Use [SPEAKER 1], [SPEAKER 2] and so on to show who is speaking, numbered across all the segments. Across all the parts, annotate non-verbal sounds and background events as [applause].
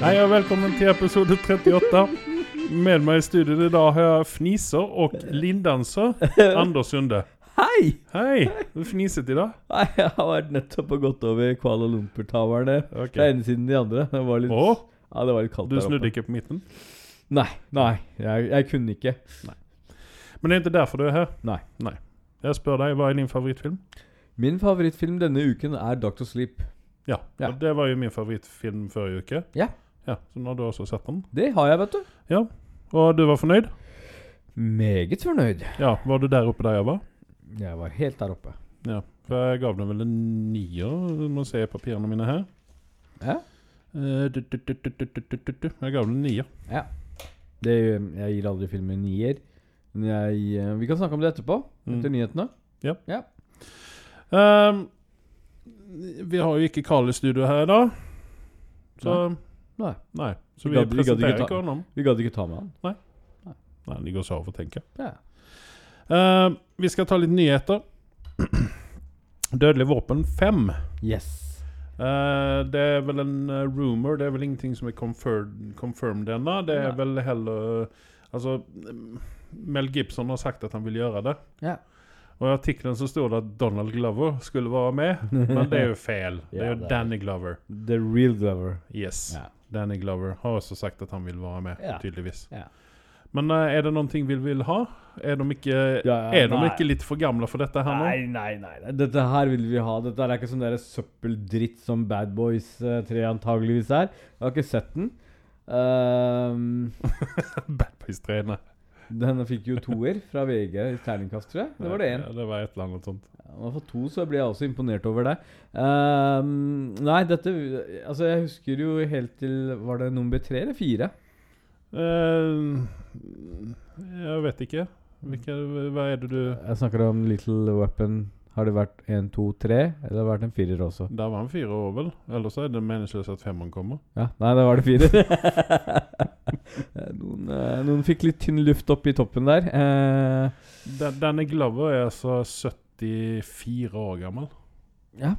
[SPEAKER 1] Hei og velkommen til episode 38. Med meg i studiet i dag har jeg fniser og lindanser Anders Sunde.
[SPEAKER 2] Hei!
[SPEAKER 1] Hei! Du fniset i dag?
[SPEAKER 2] Nei, jeg har vært nettopp og gått over Kuala Lumpur-taverne.
[SPEAKER 1] Ok.
[SPEAKER 2] Fra ene siden til den andre. Det var litt,
[SPEAKER 1] Å,
[SPEAKER 2] ja, det var litt kaldt
[SPEAKER 1] du snudde
[SPEAKER 2] oppe.
[SPEAKER 1] ikke på midten?
[SPEAKER 2] Nei, nei, jeg, jeg kunne ikke.
[SPEAKER 1] Men det er ikke derfor du er her.
[SPEAKER 2] Nei.
[SPEAKER 1] Jeg spør deg, hva er din favorittfilm?
[SPEAKER 2] Min favorittfilm denne uken er Dr. Sleep.
[SPEAKER 1] Ja,
[SPEAKER 2] Ja.
[SPEAKER 1] og det var jo min favorittfilm forrige uke.
[SPEAKER 2] Ja.
[SPEAKER 1] Ja, Så nå har du også sett den.
[SPEAKER 2] Det har jeg, vet du.
[SPEAKER 1] Og du var fornøyd?
[SPEAKER 2] Meget fornøyd.
[SPEAKER 1] Ja, var du der oppe der jeg var?
[SPEAKER 2] Jeg var helt der oppe.
[SPEAKER 1] Ja, for jeg gav den vel en nier. Nå ser jeg papirene mine her.
[SPEAKER 2] Ja.
[SPEAKER 1] Eh, du, du, du, du, du, du, du, du, du. Jeg gav den en nier.
[SPEAKER 2] Det, jeg gir aldri filmer nier. Men jeg, eh, vi kan snakke om det etterpå.
[SPEAKER 1] Mm.
[SPEAKER 2] Etter nyhetene.
[SPEAKER 1] Ehm, vi har jo ikke Karl i studio her i dag. Så
[SPEAKER 2] Nei.
[SPEAKER 1] Nei, Så
[SPEAKER 2] Vi
[SPEAKER 1] vi,
[SPEAKER 2] gadd- vi gadd ikke
[SPEAKER 1] presenterer
[SPEAKER 2] ta-
[SPEAKER 1] ikke han om.
[SPEAKER 2] Vi gadd ikke ta med han.
[SPEAKER 1] Nei, han ligger og sover, tenker jeg.
[SPEAKER 2] Ja.
[SPEAKER 1] Ehm, vi skal ta litt nyheter. [clears throat] Dødelig våpen 5.
[SPEAKER 2] Yes.
[SPEAKER 1] Eh, det er vel en eh, rumor, det er vel ingenting som er confirmed, confirmed ennå. Det er
[SPEAKER 2] Nei.
[SPEAKER 1] vel heller Altså, mm, Mel Gibson har sagt at han vil gjøre det.
[SPEAKER 2] Ja.
[SPEAKER 1] Og i artikkelen så sto det at Donald Glover skulle være med, men det [laughs] er jo feil. Det er
[SPEAKER 2] Ja,
[SPEAKER 1] jo
[SPEAKER 2] det er
[SPEAKER 1] Danny Glover.
[SPEAKER 2] The real Glover.
[SPEAKER 1] Yes.
[SPEAKER 2] Ja.
[SPEAKER 1] Danny Glover har også sagt at han vil være med,
[SPEAKER 2] Ja.
[SPEAKER 1] tydeligvis.
[SPEAKER 2] Ja.
[SPEAKER 1] Men eh, er det noe vi vil ha? Er de ikke,
[SPEAKER 2] Ja,
[SPEAKER 1] er de
[SPEAKER 2] nei.
[SPEAKER 1] ikke litt for gamle for dette her nå?
[SPEAKER 2] Nei, nei, nei, nei. Dette her vil vi ha. Dette er ikke sånn der søppeldritt som Bad Boys 3 antageligvis er. Jeg har ikke sett den. Ehm,
[SPEAKER 1] Bad Boys 3, nei.
[SPEAKER 2] den fikk jo toer fra VG i terningkast, tror jeg. Det var det én.
[SPEAKER 1] Ja, det var et eller annet sånt.
[SPEAKER 2] Om jeg får to, så blir jeg også imponert over det. Ehm, nei, dette Altså, jeg husker jo helt til Var det nummer tre eller fire?
[SPEAKER 1] Eh, jeg vet ikke. Hvilke, hva er det du
[SPEAKER 2] Jeg snakker om Little Weapon. Har det vært én, to, tre? Eller har det vært en firer også?
[SPEAKER 1] Der var han fire år, vel? Ellers er det meningsløst at femmeren kommer.
[SPEAKER 2] Ja, nei, da var det fire. [laughs] noen, eh, noen fikk litt tynn luft opp i toppen der. Eh,
[SPEAKER 1] Den- Danny Glover er altså 74 år gammel.
[SPEAKER 2] Ja.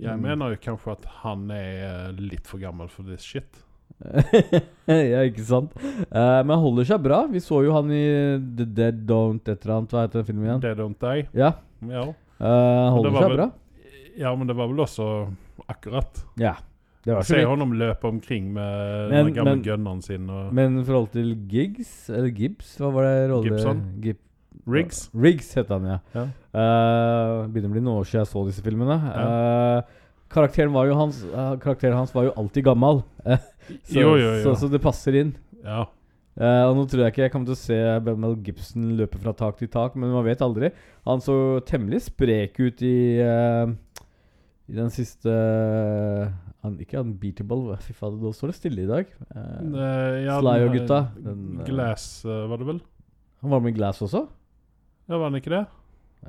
[SPEAKER 1] Jeg
[SPEAKER 2] Mm.
[SPEAKER 1] mener jo kanskje at han er litt for gammel for this shit.
[SPEAKER 2] [laughs] ja, ikke sant? Eh, men han holder seg bra. Vi så jo han i The Dead Don't et eller annet. Hva heter den filmen igjen?
[SPEAKER 1] Dead Don't Die.
[SPEAKER 2] Ja,
[SPEAKER 1] Ja.
[SPEAKER 2] eh, han
[SPEAKER 1] Men det
[SPEAKER 2] holder
[SPEAKER 1] var
[SPEAKER 2] seg
[SPEAKER 1] vel-
[SPEAKER 2] bra.
[SPEAKER 1] ja, men det var vel også akkurat.
[SPEAKER 2] Ja, det var så
[SPEAKER 1] Se
[SPEAKER 2] vidt.
[SPEAKER 1] honom løpe omkring med
[SPEAKER 2] Men-
[SPEAKER 1] den gamle
[SPEAKER 2] men-
[SPEAKER 1] gunneren sin og
[SPEAKER 2] Men i forhold til Giggs, eller Gibbs, hva var det rolle...
[SPEAKER 1] Gibson?
[SPEAKER 2] Gib
[SPEAKER 1] Riggs.
[SPEAKER 2] Riggs heter han, ja.
[SPEAKER 1] Ja.
[SPEAKER 2] Eh, begynner å bli noen år siden jeg så disse filmene. Eh, karakteren, var jo hans, eh, karakteren hans var jo alltid gammel, [laughs] Eh, så,
[SPEAKER 1] Jo, jo, jo.
[SPEAKER 2] Så, så det passer inn.
[SPEAKER 1] Ja.
[SPEAKER 2] Eh, og nå tror jeg ikke jeg kommer til å se Mel Gibson løpe fra tak til tak, men man vet aldri. Han så temmelig sprek ut i, eh, i den siste eh, han, Ikke unbeatable, fy fader, nå står det stille i dag. Eh,
[SPEAKER 1] Eh, ja,
[SPEAKER 2] Sly
[SPEAKER 1] den
[SPEAKER 2] og
[SPEAKER 1] her-
[SPEAKER 2] gutta, den, eh,
[SPEAKER 1] Glass, eh, var det vel?
[SPEAKER 2] han var med i Glass også?
[SPEAKER 1] Ja, var den ikke det?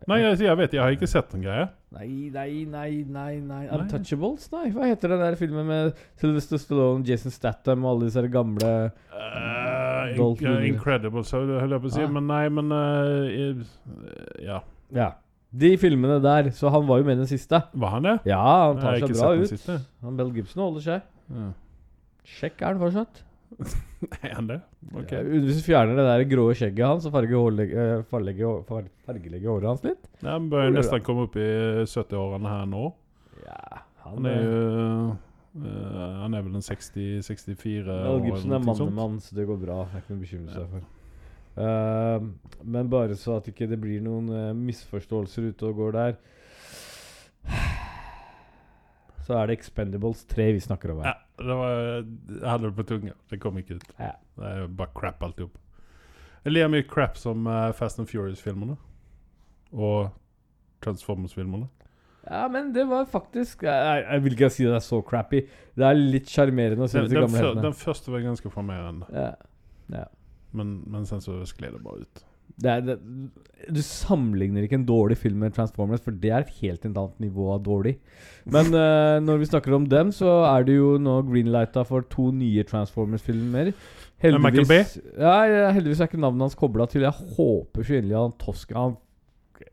[SPEAKER 1] Nei, jeg, jeg vet Jeg har ikke sett den greia.
[SPEAKER 2] Nei, nei, nei, nei, nei.
[SPEAKER 1] Nei.
[SPEAKER 2] Untouchables? Nei, hva heter den der filmen med Sylvester Stallone, Jason Statham og alle disse her gamle
[SPEAKER 1] Eh,
[SPEAKER 2] Dolph
[SPEAKER 1] in-
[SPEAKER 2] Lundgren.
[SPEAKER 1] incredible, så holdt jeg på å si.
[SPEAKER 2] Ah.
[SPEAKER 1] Men nei, men eh, i- Ja.
[SPEAKER 2] Ja. De filmene der. Så han var jo med i den siste.
[SPEAKER 1] Var han det?
[SPEAKER 2] Ja, han
[SPEAKER 1] Nei,
[SPEAKER 2] tar
[SPEAKER 1] jeg har
[SPEAKER 2] seg
[SPEAKER 1] ikke
[SPEAKER 2] bra
[SPEAKER 1] sett den
[SPEAKER 2] ut.
[SPEAKER 1] siste.
[SPEAKER 2] Han Bell Gibson holder seg.
[SPEAKER 1] Ja.
[SPEAKER 2] Sjekk er han fortsatt.
[SPEAKER 1] [laughs] Er han det? Ok.
[SPEAKER 2] Ja, hvis du fjerner det der grå skjegget hans og farge hårlegge- eh, farlegge hår- far- fargelegger håret hans litt
[SPEAKER 1] Nei, han bør jo
[SPEAKER 2] Gjorde
[SPEAKER 1] nesten komme opp i 70-årene her nå.
[SPEAKER 2] Ja, han,
[SPEAKER 1] Han er jo eh, Han er vel en 60-64
[SPEAKER 2] Mel Gibson er mannemann, så det går bra. Det er ikke noe å bekymre seg for. Ehm, men bare så at ikke det blir noen eh, misforståelser ute og går der Så er det Expendables 3 vi snakker om
[SPEAKER 1] Ja,
[SPEAKER 2] her.
[SPEAKER 1] det var, jeg hadde det på tunga. Det kom ikke ut.
[SPEAKER 2] Ja.
[SPEAKER 1] Det er jo bare crap alt i hop. Jeg ler mye crap som eh, Fast and Furious-filmerne. Og Transformers-filmerne.
[SPEAKER 2] Ja, men det var faktisk Jeg, jeg, jeg vil ikke si det er så crappy. Det er litt sjarmerende å se
[SPEAKER 1] Den,
[SPEAKER 2] disse
[SPEAKER 1] den,
[SPEAKER 2] gamle
[SPEAKER 1] fø- den
[SPEAKER 2] heltene.
[SPEAKER 1] første var ganske sjarmerende,
[SPEAKER 2] Ja.
[SPEAKER 1] men, men sen så skled det bare ut.
[SPEAKER 2] Det er, det, du sammenligner ikke en dårlig film med Transformers, for det er et helt et annet nivå av dårlig.
[SPEAKER 1] [laughs]
[SPEAKER 2] Men eh, når vi snakker om dem, så er det jo nå greenlighta for to nye Transformers-filmer.
[SPEAKER 1] Er Michael Bay?
[SPEAKER 2] Ja, ja, heldigvis er ikke navnet hans kobla til. Jeg håper så inderlig han Tosk han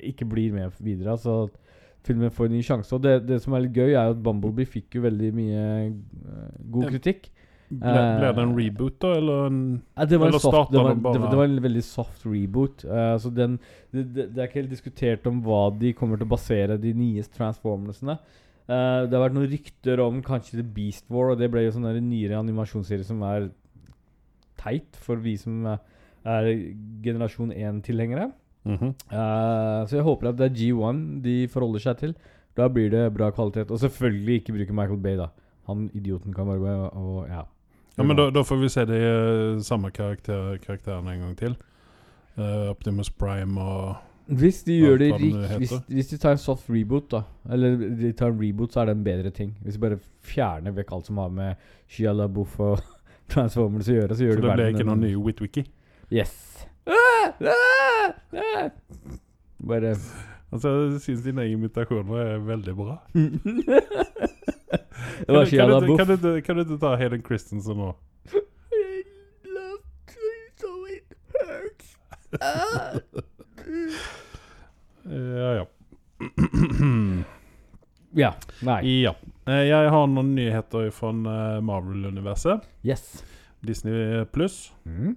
[SPEAKER 2] ikke blir med videre. Altså at filmen får en ny sjanse. Og det, det som er litt gøy, er jo at Bumblebee fikk jo veldig mye eh, god
[SPEAKER 1] Ja.
[SPEAKER 2] kritikk.
[SPEAKER 1] Ble, ble det en reboot, da? Eller en
[SPEAKER 2] Ja, det, var en
[SPEAKER 1] Eller
[SPEAKER 2] soft,
[SPEAKER 1] starta
[SPEAKER 2] det, var,
[SPEAKER 1] den bare-
[SPEAKER 2] det, var- det var en veldig soft reboot. eh, så den, det, det, det er ikke helt diskutert om hva de kommer til å basere de nye transformersene Eh, Det har vært noen rykter om kanskje The Beast War, og det ble jo sånn der en nyere animasjonsserie som er teit for vi som eh, er generasjon 1-tilhengere.
[SPEAKER 1] Mhm.
[SPEAKER 2] Eh, så jeg håper at det er G1 de forholder seg til. Da blir det bra kvalitet. Og selvfølgelig ikke bruke Michael Bay, da. Han idioten kan bare gå og og- ja.
[SPEAKER 1] Ja, men da, da får vi se de eh, samme karakter, karakterene en gang til. Eh, Optimus Prime og
[SPEAKER 2] Hvis de
[SPEAKER 1] Hva
[SPEAKER 2] gjør det
[SPEAKER 1] faen det
[SPEAKER 2] rikt
[SPEAKER 1] heter.
[SPEAKER 2] hvis, hvis de tar en soft reboot, da. Eller de tar en reboot, så er det en bedre ting. Hvis de bare fjerner vekk alt som har med Shia LaBeouf og [laughs] Transformers å gjøre, så
[SPEAKER 1] Så
[SPEAKER 2] gjør
[SPEAKER 1] det
[SPEAKER 2] de
[SPEAKER 1] ble
[SPEAKER 2] verden
[SPEAKER 1] ikke
[SPEAKER 2] en-
[SPEAKER 1] noen ny Witwicky.
[SPEAKER 2] Yes. Ah, ah, ah. Bare
[SPEAKER 1] Altså, jeg syns dine invitasjoner er veldig bra.
[SPEAKER 2] Det
[SPEAKER 1] Kan
[SPEAKER 2] var
[SPEAKER 1] du-
[SPEAKER 2] Shia
[SPEAKER 1] kan, du,
[SPEAKER 2] LaBeouf.
[SPEAKER 1] kan, du, ikke- kan du ikke ta Hayden Christensen nå?
[SPEAKER 2] I love you so it hurts. Ah.
[SPEAKER 1] Eh, Ja, ja.
[SPEAKER 2] Ja. Nei.
[SPEAKER 1] ja. Eh, Jeg har noen nyheter fra Marvel-universet.
[SPEAKER 2] Yes.
[SPEAKER 1] Disney pluss.
[SPEAKER 2] Mm.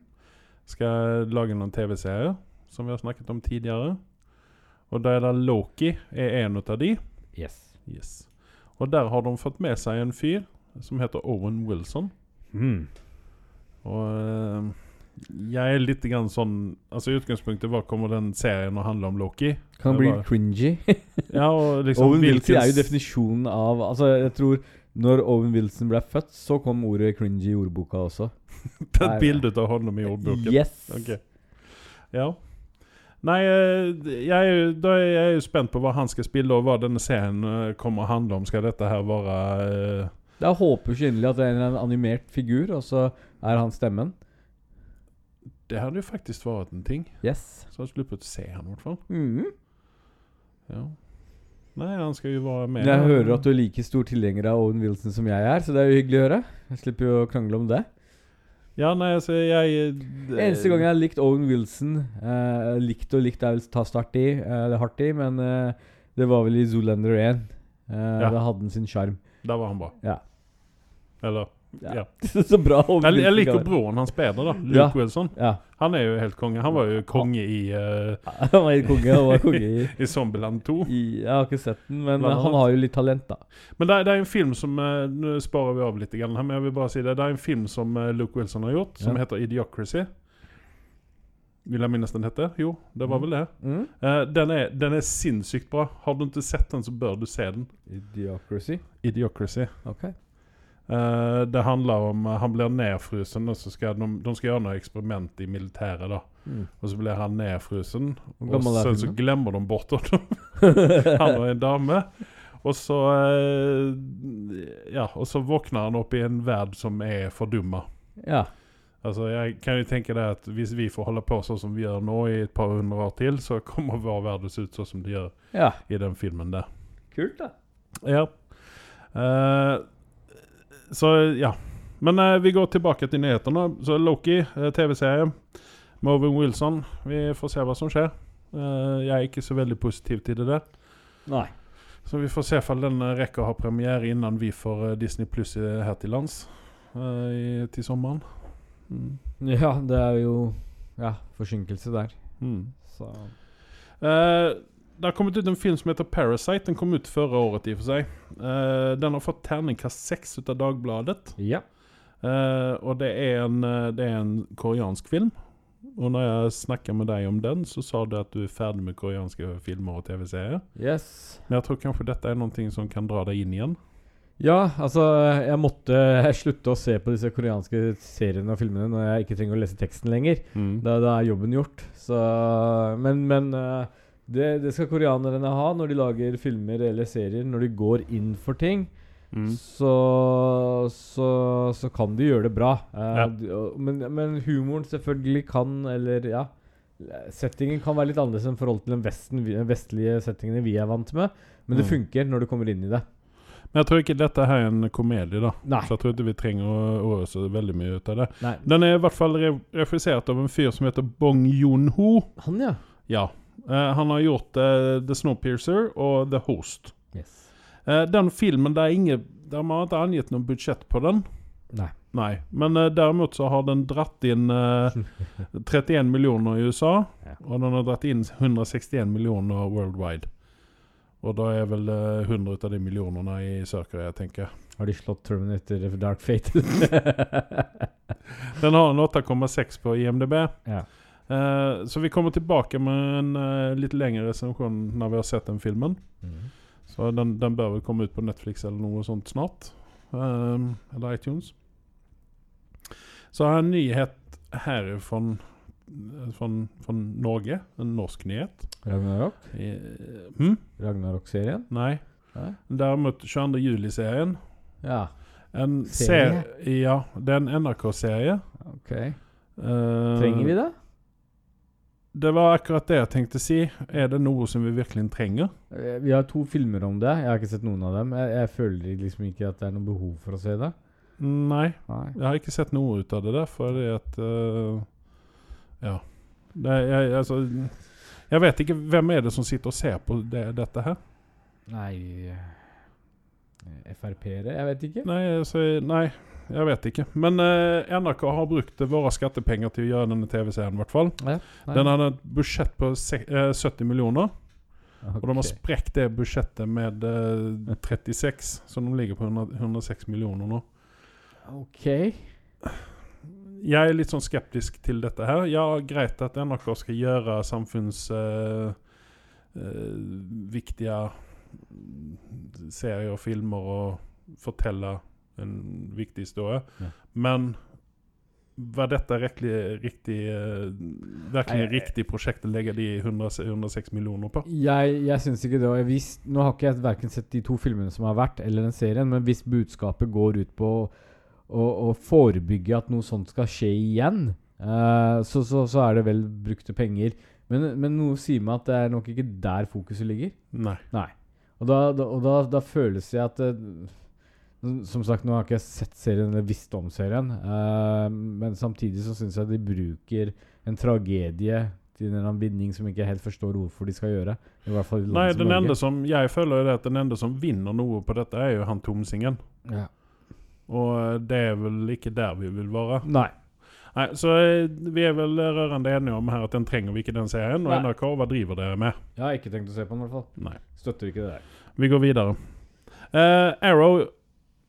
[SPEAKER 1] skal lage noen TV-serier, som vi har snakket om tidligere. Og der er det Loki er en av de.
[SPEAKER 2] Yes.
[SPEAKER 1] Yes. Og der har de fått med seg en fyr som heter Owen Wilson.
[SPEAKER 2] Mm.
[SPEAKER 1] Og eh, jeg er litt grann sånn Altså i utgangspunktet, hva kommer den serien å handle om Loki?
[SPEAKER 2] Kan
[SPEAKER 1] Det
[SPEAKER 2] bli
[SPEAKER 1] var-
[SPEAKER 2] cringy.
[SPEAKER 1] Ja, og liksom
[SPEAKER 2] [laughs] Owen Wilson
[SPEAKER 1] hvilken
[SPEAKER 2] er jo
[SPEAKER 1] s- [laughs]
[SPEAKER 2] definisjonen av Altså, jeg tror når Owen Wilson ble født, så kom ordet cringy i ordboka også.
[SPEAKER 1] Det er
[SPEAKER 2] Nei,
[SPEAKER 1] et bilde av honom i ordboken.
[SPEAKER 2] Yes!
[SPEAKER 1] Ok. Ja. Nei, eh, jeg er, jo, da er jeg jo spent på hva han skal spille, og hva denne serien eh, kommer å handle om. Skal dette her være eh,
[SPEAKER 2] Da håper jo ikke inderlig at det er en eller annen animert figur, og så er han stemmen.
[SPEAKER 1] Det hadde jo faktisk vært en ting.
[SPEAKER 2] Yes.
[SPEAKER 1] Så hadde jeg sluppet å se han i hvert fall.
[SPEAKER 2] Mhm.
[SPEAKER 1] Ja. Nei, han skal jo være med.
[SPEAKER 2] Jeg hører at du er like stor tilhenger av Owen Wilson som jeg er, så det er jo hyggelig å høre. Jeg slipper jo å krangle om det.
[SPEAKER 1] Ja, nei, altså, jeg det-
[SPEAKER 2] Eneste gang jeg har likt Owen Wilson eh, Likt og likt er vel ta start i, eh, eller hardt i, men eh, det var vel i Zoolander 1. Eh,
[SPEAKER 1] Ja.
[SPEAKER 2] Da hadde han sin sjarm. [laughs]
[SPEAKER 1] Der var han bra.
[SPEAKER 2] Ja.
[SPEAKER 1] Eller Ja.
[SPEAKER 2] Ja. så bra Owen
[SPEAKER 1] Jeg, jeg
[SPEAKER 2] Wilson kan
[SPEAKER 1] liker
[SPEAKER 2] være.
[SPEAKER 1] broren hans bedre, da. Luke
[SPEAKER 2] Ja.
[SPEAKER 1] Wilson.
[SPEAKER 2] Ja.
[SPEAKER 1] Han er jo helt konge. Han var jo konge i, eh,
[SPEAKER 2] [laughs] Han var helt konge. Han var konge [laughs] i,
[SPEAKER 1] i Zombieland 2.
[SPEAKER 2] i Jeg har ikke sett den, men
[SPEAKER 1] Blant
[SPEAKER 2] eh, han
[SPEAKER 1] annet.
[SPEAKER 2] har jo litt talent, da.
[SPEAKER 1] Men det er, det er en film som eh, Nå sparer vi av litt, grann her, men jeg vil bare si det. Det er en film som eh, Luke Wilson har gjort, som
[SPEAKER 2] Ja.
[SPEAKER 1] heter Idiocracy. Vil jeg minnes den heter? Jo, det var
[SPEAKER 2] Mm.
[SPEAKER 1] vel det. Eh, den, er, den er sinnssykt bra. Har du ikke sett den, så bør du se den.
[SPEAKER 2] Idiocracy.
[SPEAKER 1] Idiocracy.
[SPEAKER 2] Ok.
[SPEAKER 1] Eh, det handler om eh, Han blir nedfrusen, og så skal de, de skal gjøre noe eksperiment i militæret. da
[SPEAKER 2] Mm.
[SPEAKER 1] Og så blir han nedfrusen,
[SPEAKER 2] Hvor
[SPEAKER 1] og
[SPEAKER 2] gammel er
[SPEAKER 1] sen så
[SPEAKER 2] filmen?
[SPEAKER 1] glemmer de bort
[SPEAKER 2] [laughs]
[SPEAKER 1] at de- han og en dame. Og så eh, Ja, og så våkner han opp i en verd som er fordumma.
[SPEAKER 2] Ja.
[SPEAKER 1] Altså, jeg kan jo tenke det at Hvis vi får holde på sånn som vi gjør nå i et par hundre år til, så kommer vår verd ut sånn som det gjør
[SPEAKER 2] ja.
[SPEAKER 1] i den filmen der.
[SPEAKER 2] Kult, da.
[SPEAKER 1] Ja. Eh, så ja. Men eh, vi går tilbake til nyhetene. Så Loki, eh, TV-serie. Movin Wilson. Vi får se hva som skjer. Eh, jeg er ikke så veldig positiv til det der.
[SPEAKER 2] Nei.
[SPEAKER 1] Så vi får se om den eh, rekker å ha premiere innan vi får eh, Disney Pluss her til lands eh, i, til sommeren. Mm.
[SPEAKER 2] Ja, det er jo Ja, forsinkelse der.
[SPEAKER 1] Mm.
[SPEAKER 2] Så
[SPEAKER 1] Eh, det har kommet ut en film som heter Parasite. Den kom ut forrige året. i og for seg. Eh, den har fått terningkast seks ut av Dagbladet.
[SPEAKER 2] Ja.
[SPEAKER 1] Eh, og det er, en, eh, det er en koreansk film. Og når jeg snakka med deg om den, så sa du at du er ferdig med koreanske filmer og TV-serier.
[SPEAKER 2] Yes.
[SPEAKER 1] Men jeg tror kanskje dette er noe som kan dra deg inn igjen.
[SPEAKER 2] Ja, altså Jeg måtte eh, slutte å se på disse koreanske seriene og filmene når jeg ikke trenger å lese teksten lenger.
[SPEAKER 1] Mm.
[SPEAKER 2] Da, da er jobben gjort. Så, men men eh, det, det skal koreanerne ha når de lager filmer eller serier. Når de går inn for ting,
[SPEAKER 1] Mm.
[SPEAKER 2] så, så, så kan de gjøre det bra. Eh,
[SPEAKER 1] Ja.
[SPEAKER 2] d- og- men, men humoren selvfølgelig kan, eller ja Settingen kan være litt annerledes enn forhold til den vesten, vi- vestlige settingene vi er vant med. Men det
[SPEAKER 1] Mm.
[SPEAKER 2] funker når du kommer inn i det.
[SPEAKER 1] Men jeg tror ikke dette her er en komedie, da.
[SPEAKER 2] Nei.
[SPEAKER 1] Så jeg tror ikke vi trenger å oroe oss veldig mye ut av det.
[SPEAKER 2] Nei.
[SPEAKER 1] Den er i hvert fall re regissert av en fyr som heter Bong Joon-ho.
[SPEAKER 2] Han, ja.
[SPEAKER 1] Ja. Eh, han har gjort eh, The Snowpiercer og The Host.
[SPEAKER 2] Yes.
[SPEAKER 1] Eh, den filmen, det er ingen, de har ikke angitt noe budsjett på den.
[SPEAKER 2] Nei.
[SPEAKER 1] Nei. Men eh, derimot så har den dratt inn
[SPEAKER 2] [laughs]
[SPEAKER 1] eh, 31 millioner i USA,
[SPEAKER 2] Ja.
[SPEAKER 1] og den har dratt inn 161 millioner worldwide. Og da er vel eh, 100 ut av de millionene i Sør-Korea, tenker jeg.
[SPEAKER 2] Har de slått Terminator for Dark Fate?
[SPEAKER 1] [laughs] Den har en 8,6 på IMDb.
[SPEAKER 2] ja.
[SPEAKER 1] Eh, så vi kommer tilbake med en eh, litt lengre reservasjon når vi har sett den filmen.
[SPEAKER 2] Mm.
[SPEAKER 1] Så den, den bør vel komme ut på Netflix eller noe sånt snart. Ehm, eller iTunes. Så har jeg en nyhet her fra Norge. En norsk nyhet.
[SPEAKER 2] Ragnarok?
[SPEAKER 1] Eh, Hm?
[SPEAKER 2] Ragnarok-serien?
[SPEAKER 1] Nei.
[SPEAKER 2] Nei?
[SPEAKER 1] Derimot 22. juli-serien.
[SPEAKER 2] Ja,
[SPEAKER 1] En
[SPEAKER 2] Serie?
[SPEAKER 1] serie? Ja, det er en NRK-serie. Eh,
[SPEAKER 2] ok. Trenger vi det?
[SPEAKER 1] Det var akkurat det jeg tenkte å si. Er det noe som vi virkelig trenger?
[SPEAKER 2] Eh, Vi har to filmer om det. Jeg har ikke sett noen av dem. Jeg, jeg føler liksom ikke at det er noe behov for å se det.
[SPEAKER 1] Nei.
[SPEAKER 2] Nei.
[SPEAKER 1] Jeg har ikke sett noe ut av det der, fordi at eh, Ja. Det, er- jeg, altså Jeg vet ikke hvem er det som sitter og ser på det, dette her.
[SPEAKER 2] Nei eh, Frp-ere? Jeg vet ikke.
[SPEAKER 1] Nei, altså, nei, jeg vet ikke. Men eh, NRK har brukt våre skattepenger til å gjøre denne TV-serien, i hvert fall.
[SPEAKER 2] Nei.
[SPEAKER 1] Den hadde et budsjett på se, eh, 70 millioner, og de har
[SPEAKER 2] Ok.
[SPEAKER 1] sprukket det budsjettet med eh, 36, så de ligger på 100, 106 millioner nå.
[SPEAKER 2] Ok.
[SPEAKER 1] Jeg er litt sånn skeptisk til dette her. Ja, greit at NRK skal gjøre samfunnsviktige viktige serier og filmer og fortelle en viktig historie,
[SPEAKER 2] Ja.
[SPEAKER 1] men var dette riktig, riktig, eh, virkelig
[SPEAKER 2] Nei, jeg-
[SPEAKER 1] riktig prosjekt å legge de 100, 106 millioner på?
[SPEAKER 2] Jeg, jeg syns ikke det var hvis, Nå har ikke jeg verken sett de to filmene som har vært, eller den serien, men hvis budskapet går ut på å, å, å forebygge at noe sånt skal skje igjen, eh, så, så, så er det vel brukte penger. Men, men noe sier meg at det er nok ikke der fokuset ligger.
[SPEAKER 1] Nei.
[SPEAKER 2] Nei. Og da, da, og da, da føles det at eh, Som sagt, nå har jeg ikke sett serien eller visst om serien, eh, men samtidig så syns jeg de bruker en tragedie til en eller annen vinning som jeg ikke helt forstår hvorfor de skal gjøre. I hvert fall i land
[SPEAKER 1] Nei,
[SPEAKER 2] som
[SPEAKER 1] den
[SPEAKER 2] Norge.
[SPEAKER 1] enda som, jeg føler jo det at den enda som vinner noe på dette, er jo han Tomsingen.
[SPEAKER 2] ja.
[SPEAKER 1] Og eh, det er vel ikke der vi vil være.
[SPEAKER 2] Nei.
[SPEAKER 1] Nei, så eh, vi er vel rørende enige om her at den trenger vi ikke den serien. Og
[SPEAKER 2] Nei.
[SPEAKER 1] NRK, hva driver dere med?
[SPEAKER 2] Jeg har ikke tenkt å se på den, i hvert fall.
[SPEAKER 1] Nei.
[SPEAKER 2] Støtter ikke det der.
[SPEAKER 1] Vi går videre. Eh, Arrow,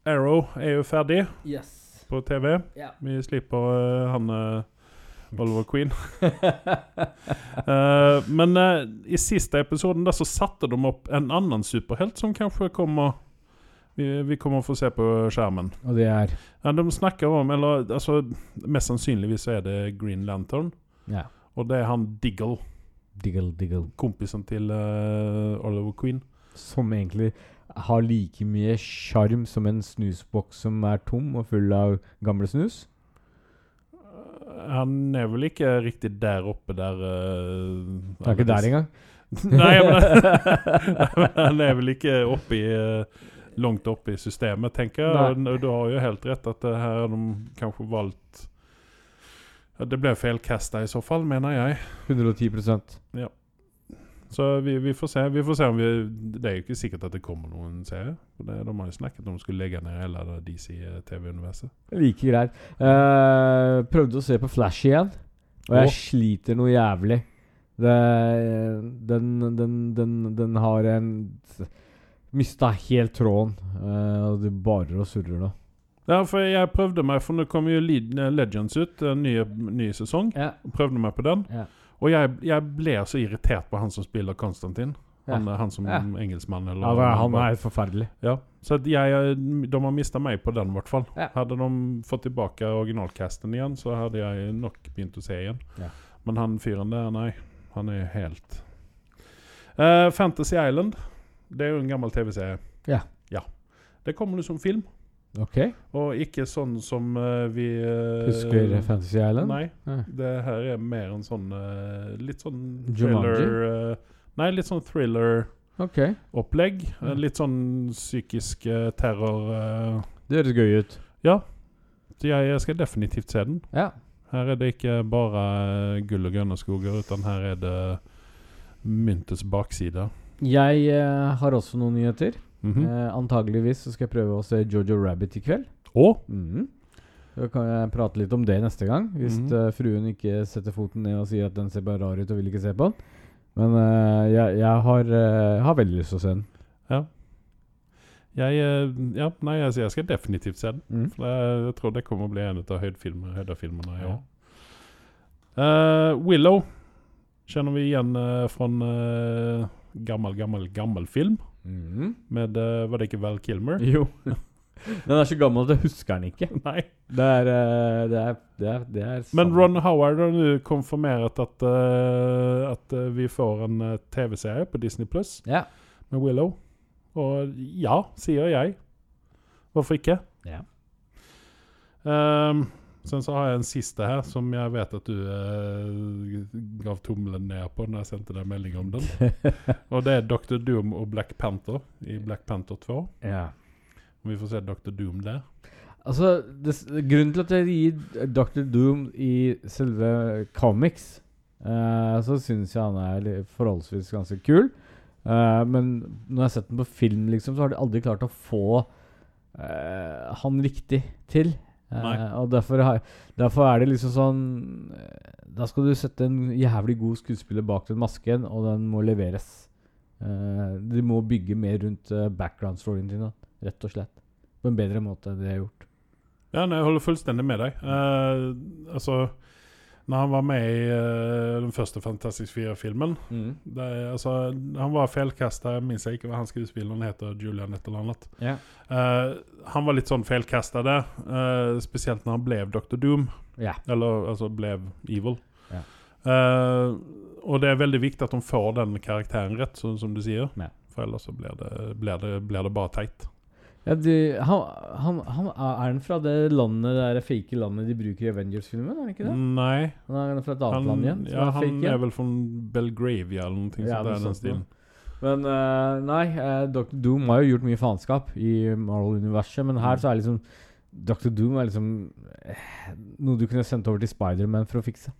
[SPEAKER 1] Arrow er jo ferdig
[SPEAKER 2] Yes.
[SPEAKER 1] på TV.
[SPEAKER 2] Ja.
[SPEAKER 1] Vi slipper eh, han eh, Oliver Queen. Eh, men eh, i siste episoden der så satte de opp en annen superhelt som kanskje kommer vi, vi kommer å få se på skjermen.
[SPEAKER 2] [laughs] Og det er
[SPEAKER 1] Ja, de snakker om, eller altså Mest sannsynligvis så er det Green Lantern.
[SPEAKER 2] ja.
[SPEAKER 1] Og det er han Diggle.
[SPEAKER 2] Diggle, diggle.
[SPEAKER 1] kompisen til eh, Oliver Queen.
[SPEAKER 2] Som egentlig har like mye sjarm som en snusboks som er tom og full av gamle snus.
[SPEAKER 1] Han er vel ikke riktig der oppe der eh,
[SPEAKER 2] Det er ikke der engang.
[SPEAKER 1] Nei, men
[SPEAKER 2] [laughs]
[SPEAKER 1] [laughs] han er vel ikke oppe i eh, Langt oppe i systemet, tenker jeg. Og Du har jo helt rett at det her har de kanskje valgt ja, Det ble feilkasta i så fall, mener jeg.
[SPEAKER 2] 110
[SPEAKER 1] Så vi, vi får se. Vi får se om vi, det er jo ikke sikkert at det kommer noen serie. For det, de har jo snakket om å skulle legge ned hele det eh, DC-TV-universet.
[SPEAKER 2] Like greit. Eh, prøvde å se på Flash igjen, og jeg
[SPEAKER 1] Åh.
[SPEAKER 2] sliter noe jævlig. Det, den, den, den, den har en Mista helt tråden, eh, og det barer og surrer nå.
[SPEAKER 1] Ja, for jeg prøvde meg, for nå kom jo Lead- eh, Legends ut, en ny, ny sesong.
[SPEAKER 2] Ja.
[SPEAKER 1] Prøvde meg på den.
[SPEAKER 2] Ja.
[SPEAKER 1] Og jeg, jeg ble så irritert på han som spiller Konstantin. Han, eh, han som
[SPEAKER 2] Ja.
[SPEAKER 1] engelskmann, eller
[SPEAKER 2] det, han er forferdelig.
[SPEAKER 1] Ja. Så at jeg, eh, de har mista meg på den, i hvert fall.
[SPEAKER 2] Ja.
[SPEAKER 1] Hadde de fått tilbake originalcasten igjen, så hadde jeg nok begynt å se igjen.
[SPEAKER 2] Ja.
[SPEAKER 1] Men han fyren der, nei. Han er helt Eh, Fantasy Island, det er jo en gammel TV-serie.
[SPEAKER 2] Ja.
[SPEAKER 1] ja. Det kommer nå som film.
[SPEAKER 2] Ok.
[SPEAKER 1] Og ikke sånn som eh, vi eh,
[SPEAKER 2] Husker Fantasy Island?
[SPEAKER 1] Nei.
[SPEAKER 2] Nei.
[SPEAKER 1] Det her er mer en sånn eh, litt sånn
[SPEAKER 2] Jumanji?
[SPEAKER 1] thriller eh, Nei, litt sånn thriller-opplegg.
[SPEAKER 2] Ok.
[SPEAKER 1] Eh, litt sånn psykisk eh, terror eh.
[SPEAKER 2] Det høres gøy ut.
[SPEAKER 1] Så jeg, jeg skal definitivt se den.
[SPEAKER 2] Ja.
[SPEAKER 1] Her er det ikke bare eh, gull og grønne skoger, utan her er det myntets bakside.
[SPEAKER 2] Jeg eh, har også noen nyheter.
[SPEAKER 1] Mhm.
[SPEAKER 2] Eh, antageligvis så skal jeg prøve å se Jojo Rabbit i kveld.
[SPEAKER 1] Og
[SPEAKER 2] Mhm. Da kan jeg prate litt om det neste gang. Hvis
[SPEAKER 1] Mhm.
[SPEAKER 2] eh, fruen ikke setter foten ned og sier at den ser bare rar ut og vil ikke se på den. Men eh, jeg, jeg har, eh, har veldig lyst til å se den.
[SPEAKER 1] Jeg, eh, ja, nei, altså, jeg skal definitivt se den.
[SPEAKER 2] Mm.
[SPEAKER 1] For Jeg, jeg tror det kommer å bli en av høydefilmer- høydefilmene i år. Eh, Willow kjenner vi igjen eh, fra en eh, gammel, gammel, gammel film.
[SPEAKER 2] Mhm.
[SPEAKER 1] Med eh, Var det ikke Val Kilmer?
[SPEAKER 2] [laughs] Jo. den er så gammel at jeg husker den ikke.
[SPEAKER 1] [laughs] Nei.
[SPEAKER 2] Det er, eh, det er, det er, det er
[SPEAKER 1] Men
[SPEAKER 2] sant.
[SPEAKER 1] Ron Howard har nå konfirmert at, eh, at eh, vi får en eh, TV-serie på Disney Pluss
[SPEAKER 2] [laughs] Ja.
[SPEAKER 1] med Willow. Og ja, sier jeg. Hvorfor ikke?
[SPEAKER 2] Ja.
[SPEAKER 1] Ehm, sen så har jeg en siste her, som jeg vet at du eh, gav tommelen ned på når jeg sendte deg melding om den. Og det er Dr. Doom og Black Panther i Black Panther 2.
[SPEAKER 2] ja.
[SPEAKER 1] Om vi får se Dr. Doom der.
[SPEAKER 2] Altså, det, s- grunnen til at jeg gir Dr. Doom i selve comics, eh, så syns jeg han er li- forholdsvis ganske kul. Eh, men når jeg har sett den på film, liksom, så har de aldri klart å få eh, han riktig til. Eh,
[SPEAKER 1] Nei.
[SPEAKER 2] og derfor, har, derfor er det liksom sånn eh, Da skal du sette en jævlig god skuespiller bak den masken, og den må leveres. Eh, du må bygge mer rundt eh, background-storyen din, da, rett og slett. På en bedre måte enn det jeg har gjort.
[SPEAKER 1] Ja, nei, jeg holder fullstendig med deg. Eh, altså, når han var med i eh, den første Fantastic Four-filmen
[SPEAKER 2] Mm.
[SPEAKER 1] det er- altså, Han var feilkasta, jeg minnes ikke hva han skuespilleren heter, Julian et eller annet.
[SPEAKER 2] Ja.
[SPEAKER 1] Eh, han var litt sånn feilkasta der, eh, spesielt når han ble Dr. Doom.
[SPEAKER 2] Ja.
[SPEAKER 1] Eller altså ble evil.
[SPEAKER 2] Ja.
[SPEAKER 1] Eh, og det er veldig viktig at de får den karakteren rett, sånn som du sier.
[SPEAKER 2] Ja.
[SPEAKER 1] For ellers så blir det, blir det, blir det bare teit.
[SPEAKER 2] Ja, de, han, han, han er er den fra det landet, det der fake landet de bruker i Avengers-filmen? Er han ikke det?
[SPEAKER 1] Nei.
[SPEAKER 2] Han er fra et
[SPEAKER 1] Mm.
[SPEAKER 2] annet
[SPEAKER 1] Han,
[SPEAKER 2] land igjen? som
[SPEAKER 1] ja,
[SPEAKER 2] er fake
[SPEAKER 1] han
[SPEAKER 2] igjen.
[SPEAKER 1] er vel fra Belgravia eller noe
[SPEAKER 2] Ja,
[SPEAKER 1] sånt.
[SPEAKER 2] noe
[SPEAKER 1] Der, den
[SPEAKER 2] sånt noe.
[SPEAKER 1] stilen.
[SPEAKER 2] Men eh, nei, eh, Dr. Doom har jo gjort mye faenskap i Marvel-universet, men
[SPEAKER 1] Mm.
[SPEAKER 2] her så er liksom Dr. Doom er liksom eh, noe du kunne sendt over til Spiderman for å fikse.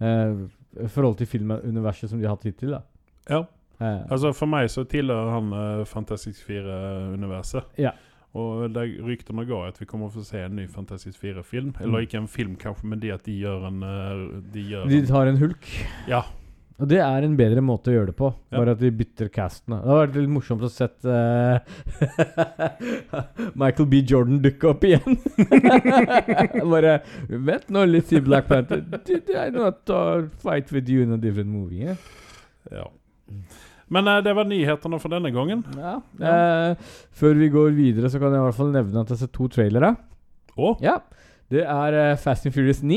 [SPEAKER 2] Eh, I forhold til filmuniverset som de har hatt hittil, da.
[SPEAKER 1] Ja.
[SPEAKER 2] Eh,
[SPEAKER 1] Altså For meg så tilhører han eh, Fantastisk 4-universet.
[SPEAKER 2] Ja.
[SPEAKER 1] Og det ryktene går at vi kommer å få se en ny Fantastisk 4-film. Eller
[SPEAKER 2] Mm.
[SPEAKER 1] ikke en film, kanskje, men det at de gjør en eh, De gjør
[SPEAKER 2] de
[SPEAKER 1] en,
[SPEAKER 2] tar en hulk.
[SPEAKER 1] Ja.
[SPEAKER 2] Og det er en bedre måte å gjøre det på,
[SPEAKER 1] Ja.
[SPEAKER 2] bare at de bytter castene. Det hadde vært litt morsomt å sett eh, [laughs] Michael B. Jordan dukke opp igjen. [laughs] bare Vent nå litt, sier Black Panther. Did I not uh, fight with you in a different movie? eh?»
[SPEAKER 1] ja. Men eh, det var nyhetene for denne gangen.
[SPEAKER 2] Ja. Eh, før vi går videre, så kan jeg i hvert fall nevne at jeg har sett to trailere.
[SPEAKER 1] Og
[SPEAKER 2] Ja. Det er eh, Fast and Furious 9.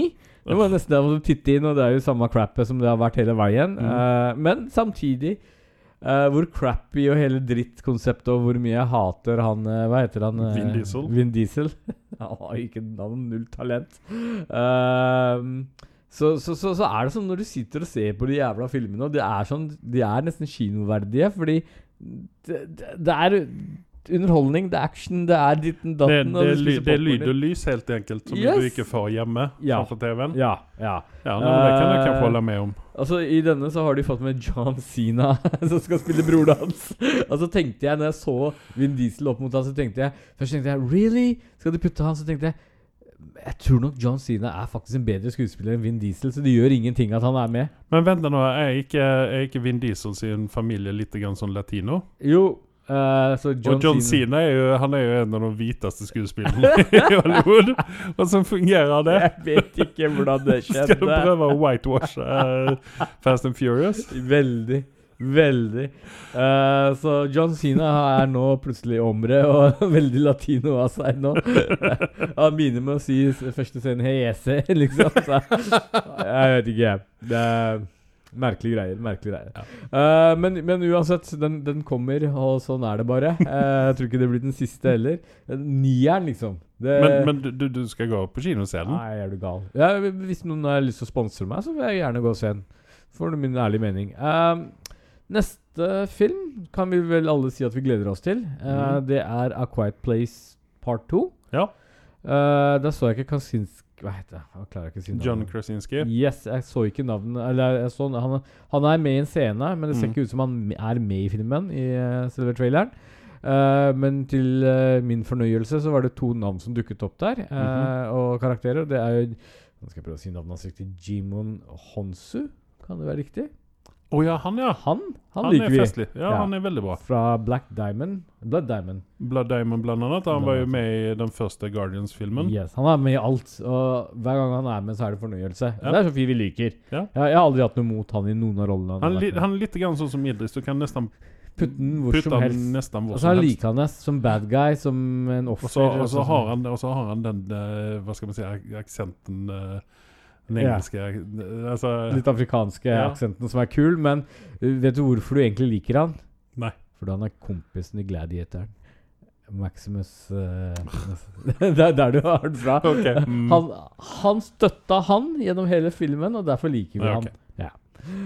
[SPEAKER 2] Det var nesten der du titte inn, og det er jo samme crappet som det har vært hele veien.
[SPEAKER 1] Mm.
[SPEAKER 2] Eh, men samtidig eh, hvor crappy og hele drittkonseptet og hvor mye jeg hater han eh, Hva heter han? eh,
[SPEAKER 1] Vin Diesel.
[SPEAKER 2] Vin Diesel. [laughs] han har jo ikke navn, null talent. Eh, så, så, så, så er det sånn når du sitter og ser på de jævla filmene, og de er, sånn, de er nesten kinoverdige, fordi det, det, det er underholdning, det er action, det er ditten
[SPEAKER 1] det,
[SPEAKER 2] datten
[SPEAKER 1] det,
[SPEAKER 2] og
[SPEAKER 1] er
[SPEAKER 2] du
[SPEAKER 1] ly,
[SPEAKER 2] spiser
[SPEAKER 1] det er
[SPEAKER 2] popcorn.
[SPEAKER 1] lyd og lys, helt enkelt, som
[SPEAKER 2] Yes!
[SPEAKER 1] du ikke får hjemme
[SPEAKER 2] Ja.
[SPEAKER 1] framfor TV-en. Ja,
[SPEAKER 2] Ja, ja.
[SPEAKER 1] nei, men det kan jeg
[SPEAKER 2] Eh,
[SPEAKER 1] kanskje holde med om.
[SPEAKER 2] Altså, I denne så har de fått med John Cena, [laughs] som skal spille broren hans. Og så tenkte jeg, når jeg så Vin Diesel opp mot han, så tenkte jeg Først tenkte jeg Really? Skal de putte han? Så tenkte jeg Jeg tror nok John Cena er faktisk en bedre skuespiller enn Vin Diesel, så det gjør ingenting at han er med.
[SPEAKER 1] Men vent nå, er ikke, er ikke Vin Diesel sin familie litt grann sånn latino?
[SPEAKER 2] Jo, eh, så John,
[SPEAKER 1] og John
[SPEAKER 2] Cena
[SPEAKER 1] Cena er jo, han er jo en av de hviteste skuespillerne [laughs] i Hollywood. Hvordan fungerer det?
[SPEAKER 2] [laughs] Jeg vet ikke hvordan det
[SPEAKER 1] Skal du
[SPEAKER 2] skjedde.
[SPEAKER 1] prøve å whitewashe eh, Fast and Furious?
[SPEAKER 2] Veldig. Veldig. Eh, så John Cena er nå plutselig omre og [laughs] veldig latino av seg nå. [laughs] Han begynner med å si s- første scenen 'Hei, jeg ser', [laughs] liksom. Så, jeg vet ikke, jeg. Det er merkelige greier. Merkelige greier. Eh, men, men uansett, den, den kommer, og sånn er det bare. Eh, jeg tror ikke det blir den siste heller. Nieren, liksom. Det,
[SPEAKER 1] Men, men du, du- du skal gå på kinoscenen?
[SPEAKER 2] Nei, er du gal. Ja, hvis noen har lyst til å sponsre meg, så vil jeg gjerne gå og se den. For min ærlige mening. Ehm, neste film kan vi vel alle si at vi gleder oss til. Eh,
[SPEAKER 1] Mhm.
[SPEAKER 2] Det er A Quiet Place Part 2.
[SPEAKER 1] Ja.
[SPEAKER 2] Eh, der så jeg ikke Kasinsk... Hva heter det? Jeg klarer ikke Mm. å si navnet.
[SPEAKER 1] John Krasinski?
[SPEAKER 2] Yes, jeg så ikke navnet Eller jeg så, han, han er med i en scene, men det ser
[SPEAKER 1] Mm.
[SPEAKER 2] ikke ut som han er med i filmen. I eh, selve traileren Eh, men til eh, min fornøyelse så var det to navn som dukket opp der, eh,
[SPEAKER 1] Mhm.
[SPEAKER 2] og karakterer. Det er jo Nå skal jeg prøve å si navnet hans riktig. Jimon Honsu, kan det være riktig?
[SPEAKER 1] Å ja, han, ja.
[SPEAKER 2] Han, han,
[SPEAKER 1] Han,
[SPEAKER 2] liker
[SPEAKER 1] er
[SPEAKER 2] vi.
[SPEAKER 1] festlig. Ja,
[SPEAKER 2] Ja.
[SPEAKER 1] han er veldig bra.
[SPEAKER 2] Fra Black Diamond. Blood Diamond.
[SPEAKER 1] Blood Diamond blant annet. Han var jo med i den første Guardians-filmen.
[SPEAKER 2] Yes, han er med i alt, og hver gang han er med, så er det fornøyelse.
[SPEAKER 1] Ja.
[SPEAKER 2] Det er så fyr vi liker.
[SPEAKER 1] Ja.
[SPEAKER 2] Jeg, jeg har aldri hatt noe mot han i noen av rollene. Han,
[SPEAKER 1] Han,
[SPEAKER 2] har
[SPEAKER 1] li,
[SPEAKER 2] vært med.
[SPEAKER 1] han er litt grann sånn som Idris. Du kan nesten
[SPEAKER 2] Putt den hvor
[SPEAKER 1] putte
[SPEAKER 2] som
[SPEAKER 1] han
[SPEAKER 2] helst.
[SPEAKER 1] nesten hvor
[SPEAKER 2] Og så er
[SPEAKER 1] som
[SPEAKER 2] han
[SPEAKER 1] helst.
[SPEAKER 2] likende som bad guy, som en offer.
[SPEAKER 1] Og så, og, så
[SPEAKER 2] sånn.
[SPEAKER 1] har han, og så har han den eh, Hva skal man si ak- Aksenten eh, Den
[SPEAKER 2] Ja.
[SPEAKER 1] engelske eh, Altså
[SPEAKER 2] Litt afrikanske
[SPEAKER 1] Ja.
[SPEAKER 2] aksenten som er kul, men uh, vet du hvorfor du egentlig liker han?
[SPEAKER 1] Nei.
[SPEAKER 2] Fordi han er kompisen i Gladiatoren. Maximus uh, Det er [laughs] der du har den fra.
[SPEAKER 1] [laughs] Ok. Mm.
[SPEAKER 2] Han, han støtta han gjennom hele filmen, og derfor liker vi
[SPEAKER 1] Ja, ok.
[SPEAKER 2] han. Ja.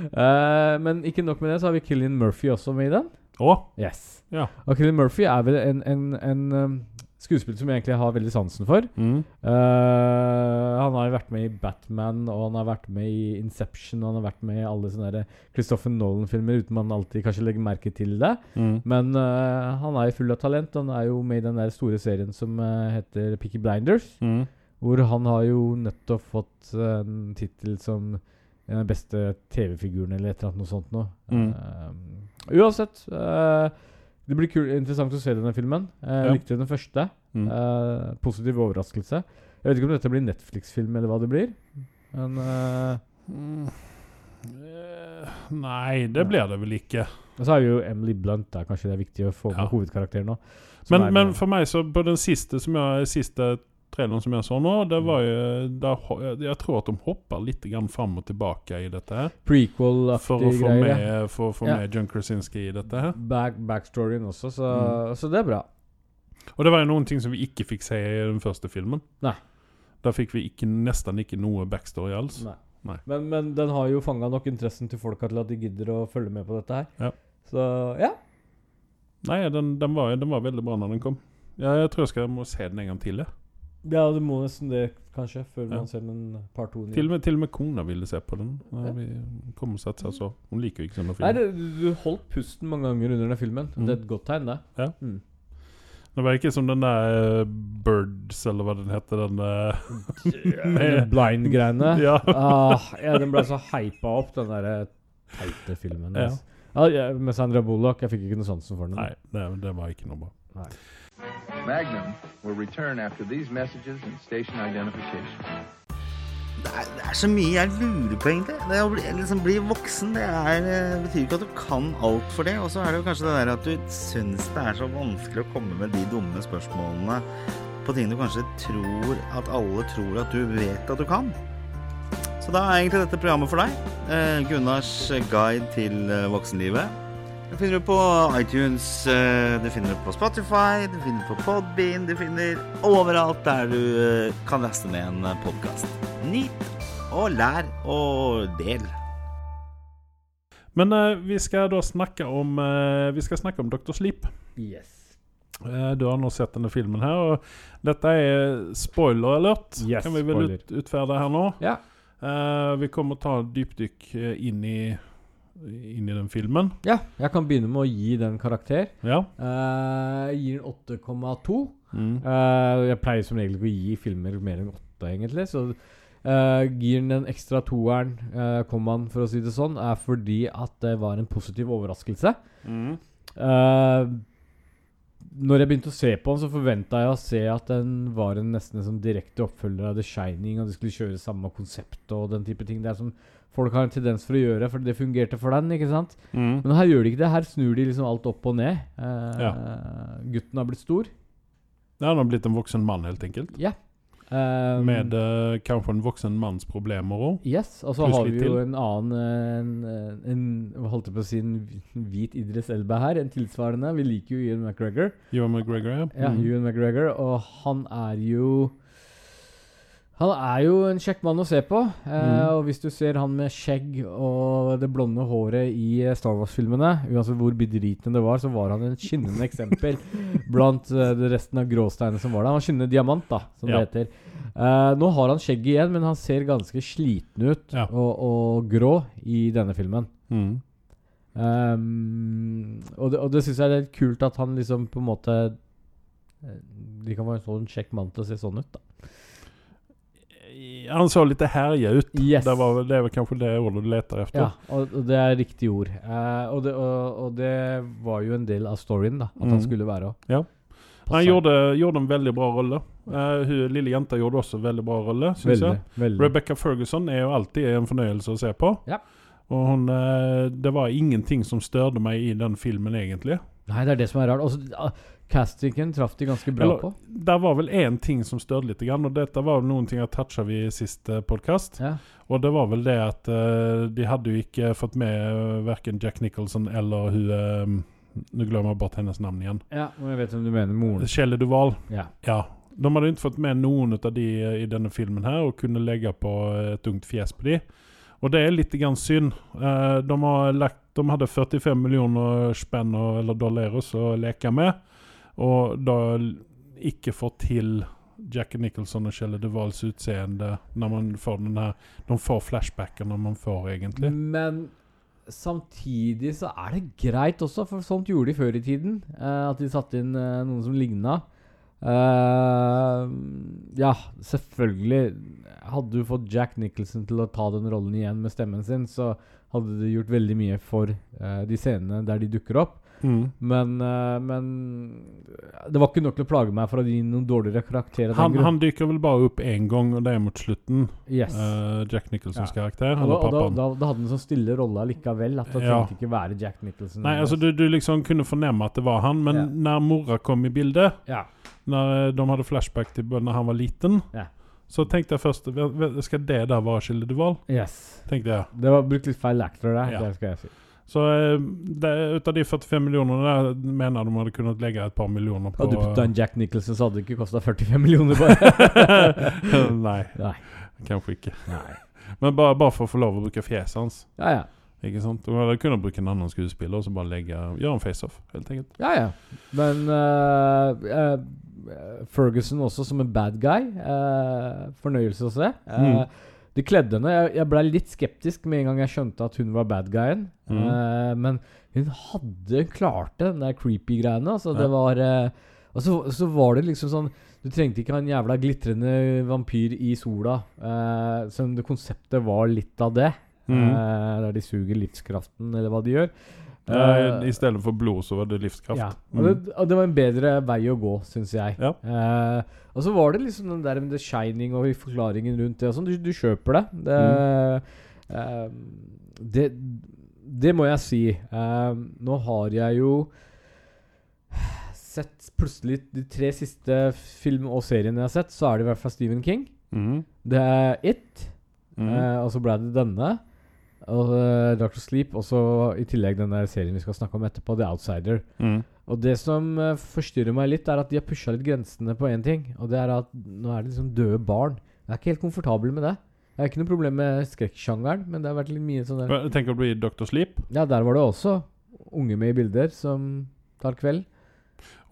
[SPEAKER 2] Eh, men ikke nok med det, så har vi Killian Murphy også med i den.
[SPEAKER 1] Å,
[SPEAKER 2] Yes.
[SPEAKER 1] Ja.
[SPEAKER 2] Og Killian Murphy er vel en, en, en um, skuespiller som jeg egentlig har veldig sansen for.
[SPEAKER 1] mm.
[SPEAKER 2] Eh, han har jo vært med i Batman, og han har vært med i Inception, og han har vært med i alle sånne der Christopher Nolan-filmer uten man alltid kanskje legger merke til det.
[SPEAKER 1] Mm.
[SPEAKER 2] Men eh, han er jo full av talent. Han er jo med i den der store serien som eh, heter Picky Blinders.
[SPEAKER 1] Mm.
[SPEAKER 2] Hvor han har jo nettopp fått eh, en tittel som en av de beste TV-figurene, eller et eller annet noe sånt noe.
[SPEAKER 1] Mm.
[SPEAKER 2] Eh, uansett. eh, det blir kul, interessant å se denne filmen. Eh, Jeg
[SPEAKER 1] Ja.
[SPEAKER 2] likte den første.
[SPEAKER 1] Mm.
[SPEAKER 2] Eh, positiv overraskelse. Jeg vet ikke om dette blir Netflix-film, eller hva det blir. Men eh,
[SPEAKER 1] Mm. Eh, Nei, det blir det vel ikke.
[SPEAKER 2] Og så er jo Emily Blunt der, kanskje det er viktig å få med
[SPEAKER 1] Ja.
[SPEAKER 2] hovedkarakteren nå. som
[SPEAKER 1] Men,
[SPEAKER 2] er
[SPEAKER 1] men
[SPEAKER 2] med.
[SPEAKER 1] for meg, så på den siste, som jeg, siste traileren som jeg så nå, det
[SPEAKER 2] Mm.
[SPEAKER 1] var jo der, ho- Jeg tror at de hopper litt grann fram og tilbake i dette her. For å
[SPEAKER 2] Prequel-aktige
[SPEAKER 1] få
[SPEAKER 2] greier. ja.
[SPEAKER 1] med, for å få
[SPEAKER 2] Ja.
[SPEAKER 1] med John Krasinski i dette her.
[SPEAKER 2] Back, backstoryen også, så,
[SPEAKER 1] Mm.
[SPEAKER 2] så det er bra.
[SPEAKER 1] Og det var jo noen ting som vi ikke fikk se i den første filmen.
[SPEAKER 2] Nei.
[SPEAKER 1] Der fikk vi ikke, nesten ikke noe backstory alls.
[SPEAKER 2] Nei.
[SPEAKER 1] Nei.
[SPEAKER 2] Men, men den har jo fanga nok interessen til folka til at de gidder å følge med på dette her.
[SPEAKER 1] Ja.
[SPEAKER 2] Så ja.
[SPEAKER 1] Nei, den, den, var, den var veldig bra når den kom. Ja, jeg tror jeg skal må se den en gang til. Jeg.
[SPEAKER 2] ja, du må nesten det, kanskje, før
[SPEAKER 1] Ja.
[SPEAKER 2] man ser den par to.
[SPEAKER 1] Til, og med, til og med kona ville se på den. Ja,
[SPEAKER 2] Ja.
[SPEAKER 1] vi kom og satte seg og så. Hun liker jo ikke sånne
[SPEAKER 2] Nei,
[SPEAKER 1] filmer.
[SPEAKER 2] det, du holdt pusten mange ganger under den filmen.
[SPEAKER 1] Mm.
[SPEAKER 2] Det er et godt tegn, det.
[SPEAKER 1] Det var ikke som den der eh, Birds, eller hva den heter. Den, eh,
[SPEAKER 2] [laughs] Med blind-greiene.
[SPEAKER 1] [laughs] ja.
[SPEAKER 2] ah, ja, den ble så hypa opp, den der eh, teite filmen.
[SPEAKER 1] Ja.
[SPEAKER 2] Altså. Ja, ja, med Sandra Bullock. Jeg fikk ikke noe sansen for den.
[SPEAKER 1] Nei, det, det var ikke noe bra.
[SPEAKER 2] Nei.
[SPEAKER 3] Magnum will return after these messages and station identification.
[SPEAKER 4] Det er, det er så mye jeg lurer på, egentlig. Det å bli, liksom, bli voksen det er, eh, betyr ikke at du kan alt for det. Og så er det jo kanskje det der at du syns det er så vanskelig å komme med de dumme spørsmålene på ting du kanskje tror at alle tror at du vet at du kan. Så da er egentlig dette programmet for deg. Eh, Gunnars guide til eh, voksenlivet. Det finner du på iTunes, eh, du finner det på Spotify, du finner det på Podbean, du finner overalt der du eh, kan laste ned en podkast. Nyt og lær og del.
[SPEAKER 1] Men eh, vi skal da snakke om eh, Vi skal snakke om Dr. Sleep.
[SPEAKER 2] Yes.
[SPEAKER 1] Eh, du har nå sett denne filmen her, og dette er spoiler alert.
[SPEAKER 2] Yes,
[SPEAKER 1] kan vi vel ut, utferde her nå?
[SPEAKER 2] Ja.
[SPEAKER 1] Eh, vi kommer ta et dypdykk eh, inn i, inn i den filmen.
[SPEAKER 2] Ja, jeg kan begynne med å gi den karakter.
[SPEAKER 1] Ja.
[SPEAKER 2] Eh, jeg gir den 8,2.
[SPEAKER 1] Mm.
[SPEAKER 2] Eh, jeg pleier som regel ikke å gi filmer mer enn åtte, egentlig. Så eh, gir den den ekstra toeren, eh, kommaen, for å si det sånn, er fordi at det var en positiv overraskelse.
[SPEAKER 1] Mm.
[SPEAKER 2] Eh, når jeg begynte å se på den, så forventa jeg å se at den var en nesten en sånn direkte oppfølger av The Shining, og de skulle kjøre samme konsept og den type ting. Det er som folk har en tendens for å gjøre, for det fungerte for den, ikke sant?
[SPEAKER 1] Mm.
[SPEAKER 2] Men her gjør de ikke det. Her snur de liksom alt opp og ned. Eh,
[SPEAKER 1] Ja.
[SPEAKER 2] Gutten har blitt stor.
[SPEAKER 1] Ja, han har blitt en voksen mann, helt enkelt.
[SPEAKER 2] Ja. Ehm,
[SPEAKER 1] Med eh, kanskje en voksen manns problemer òg.
[SPEAKER 2] Yes, og så
[SPEAKER 1] pluss
[SPEAKER 2] har
[SPEAKER 1] litt
[SPEAKER 2] vi jo
[SPEAKER 1] til.
[SPEAKER 2] en annen eh, en, en, Hva holdt jeg på å si En hvi- hvit Idris Elba her, en tilsvarende. Vi liker jo Ian McGregor.
[SPEAKER 1] Johan McGregor, ja.
[SPEAKER 2] Ja,
[SPEAKER 1] Mm.
[SPEAKER 2] Ewan McGregor, og han er jo Han er jo en kjekk mann å se på. Eh,
[SPEAKER 1] Mm.
[SPEAKER 2] og hvis du ser han med skjegg og det blonde håret i eh, Star Wars-filmene, uansett hvor bedritende det var, så var han
[SPEAKER 1] [laughs]
[SPEAKER 2] et skinnende eksempel blant eh, det resten av gråsteinene som var der. Han var skinnende diamant, da, som
[SPEAKER 1] Ja.
[SPEAKER 2] det heter. Eh, nå har han skjegg igjen, men han ser ganske sliten ut
[SPEAKER 1] Ja.
[SPEAKER 2] og, og grå i denne filmen.
[SPEAKER 1] Mm.
[SPEAKER 2] Ehm, og det, og det syns jeg er litt kult at han liksom på en måte eh, De kan være en sånn kjekk mann til å se sånn ut, da.
[SPEAKER 1] Eh, Han så litt herja ut.
[SPEAKER 2] Yes.
[SPEAKER 1] Det, var, vel- det er vel kanskje det ordet du leter etter.
[SPEAKER 2] Ja, og, og det er riktig ord. Eh, og, det, og, og det var jo en del av storyen, da. At han
[SPEAKER 1] Mm.
[SPEAKER 2] skulle være og
[SPEAKER 1] Ja.
[SPEAKER 2] altså.
[SPEAKER 1] Han gjorde, gjorde en veldig bra rolle. Eh, hun lille jenta gjorde også en veldig bra rolle, syns
[SPEAKER 2] veldig,
[SPEAKER 1] jeg.
[SPEAKER 2] veldig.
[SPEAKER 1] Rebecca Ferguson er jo alltid en fornøyelse å se på.
[SPEAKER 2] Mm. Ja.
[SPEAKER 1] Og hun, eh, det var ingenting som størde meg i den filmen, egentlig.
[SPEAKER 2] Nei, det er det som er rart. Også, ah, castingen traff de ganske bra
[SPEAKER 1] Eller-
[SPEAKER 2] på.
[SPEAKER 1] Det var vel én ting som størde litt, grann, og dette var vel noen ting jeg toucha vi i siste podkast.
[SPEAKER 2] Ja.
[SPEAKER 1] Og det var vel det at eh, de hadde jo ikke fått med verken Jack Nicholson eller hun eh, Nå glemmer jeg bort hennes navn igjen.
[SPEAKER 2] ja, og jeg vet hvem du mener. Moren.
[SPEAKER 1] Shelley Duval.
[SPEAKER 2] Ja.
[SPEAKER 1] Ja. De hadde ikke fått med noen av de eh, i denne filmen her, og kunne legge på eh, et ungt fjes på de. Og det er litt grann synd. Eh, De, har lagt, de hadde 45 millioner spenn og- eller dollaros å leke med, og da l- ikke fått til Jack Nicholson og Kjell Duvals utseende når man får den her De får flashbackene man får, egentlig.
[SPEAKER 2] Men samtidig så er det greit også, for sånt gjorde de før i tiden. eh, at de satte inn eh, noen som ligna. Eh, ja, selvfølgelig. Hadde du fått Jack Nicholson til å ta den rollen igjen med stemmen sin, så hadde det gjort veldig mye for eh, de scenene der de dukker opp.
[SPEAKER 1] Mm.
[SPEAKER 2] Men, eh, men eh, det var ikke nok til å plage meg for å gi noen dårligere karakterer. av den
[SPEAKER 1] Han,
[SPEAKER 2] grunn.
[SPEAKER 1] han dykker vel bare opp én gang, og det er mot slutten.
[SPEAKER 2] yes.
[SPEAKER 1] eh, Jack Nicholsons
[SPEAKER 2] Ja.
[SPEAKER 1] karakter,
[SPEAKER 2] og da,
[SPEAKER 1] eller
[SPEAKER 2] og da,
[SPEAKER 1] pappaen.
[SPEAKER 2] da, da hadde han en sånn stille rolle allikevel. At han
[SPEAKER 1] Ja.
[SPEAKER 2] trengte ikke være Jack Nicholson.
[SPEAKER 1] Nei, altså du, du liksom kunne fornemme at det var han, men
[SPEAKER 2] Mm. Ja.
[SPEAKER 1] når mora kom i bildet,
[SPEAKER 2] ja.
[SPEAKER 1] når eh, de hadde flashback til når han var liten,
[SPEAKER 2] Ja.
[SPEAKER 1] så tenkte jeg først "Vel, vel, Skal det der være Skilde Duval?
[SPEAKER 2] Yes.
[SPEAKER 1] tenkte jeg.
[SPEAKER 2] Det var brukt litt feil actor der,
[SPEAKER 1] Ja.
[SPEAKER 2] det skal jeg si.
[SPEAKER 1] Så eh, det, ut av de 45 millionene der mener jeg de hadde kunnet legge et par millioner på
[SPEAKER 2] Hadde du putta en Jack Nicholson, så hadde det ikke kosta 45 millioner, bare.
[SPEAKER 1] [laughs] Nei,
[SPEAKER 2] Nei.
[SPEAKER 1] kanskje ikke.
[SPEAKER 2] [laughs] Nei.
[SPEAKER 1] Men bare, bare for å få lov å bruke fjeset hans.
[SPEAKER 2] Ja, ja.
[SPEAKER 1] Ikke sant? De hadde kunnet bruke en annen skuespiller og så bare legge, gjøre en face-off, helt enkelt.
[SPEAKER 2] ja, ja. Men eh, eh, Ferguson også som en bad guy. eh, fornøyelse å se. Eh,
[SPEAKER 1] Mm.
[SPEAKER 2] De kledde henne. Jeg, jeg blei litt skeptisk med en gang jeg skjønte at hun var bad guyen.
[SPEAKER 1] Mm.
[SPEAKER 2] Eh, men hun hadde klarte den der creepy greiene. Altså, det
[SPEAKER 1] Ja.
[SPEAKER 2] var eh, Og så, så var det liksom sånn Du trengte ikke ha en jævla glitrende vampyr i sola. Eh, selv om det konseptet var litt av det.
[SPEAKER 1] Mm.
[SPEAKER 2] Eh, der de suger livskraften, eller hva de gjør.
[SPEAKER 1] Eh,
[SPEAKER 2] Eh,
[SPEAKER 1] I stedet for blod, så var det livskraft.
[SPEAKER 2] ja.
[SPEAKER 1] Mm.
[SPEAKER 2] Og, det, og det var en bedre vei å gå, syns jeg.
[SPEAKER 1] Ja.
[SPEAKER 2] Eh, og så var det liksom den der med The Shining og forklaringen rundt det og sånn. Du, du kjøper det. Det,
[SPEAKER 1] Mm.
[SPEAKER 2] eh, det. det må jeg si. Eh, nå har jeg jo sett plutselig de tre siste film- og seriene jeg har sett, så er det i hvert fall Stephen King.
[SPEAKER 1] Mm.
[SPEAKER 2] Det er It,
[SPEAKER 1] Mm.
[SPEAKER 2] eh, og så ble det denne. Og uh, Doctor Sleep, og så i tillegg den der serien vi skal snakke om etterpå, The Outsider.
[SPEAKER 1] Mm.
[SPEAKER 2] Og det som eh, forstyrrer meg litt, er at de har pusha litt grensene på én ting. Og det er at nå er det liksom døde barn. Jeg er ikke helt komfortabel med det. Jeg har ikke noe problem med skrekksjangeren, men det har vært litt mye sånn der
[SPEAKER 1] Men Jeg tenker å bli Dr. Sleep.
[SPEAKER 2] Ja, der var det også unge med i bilder som tar kveld.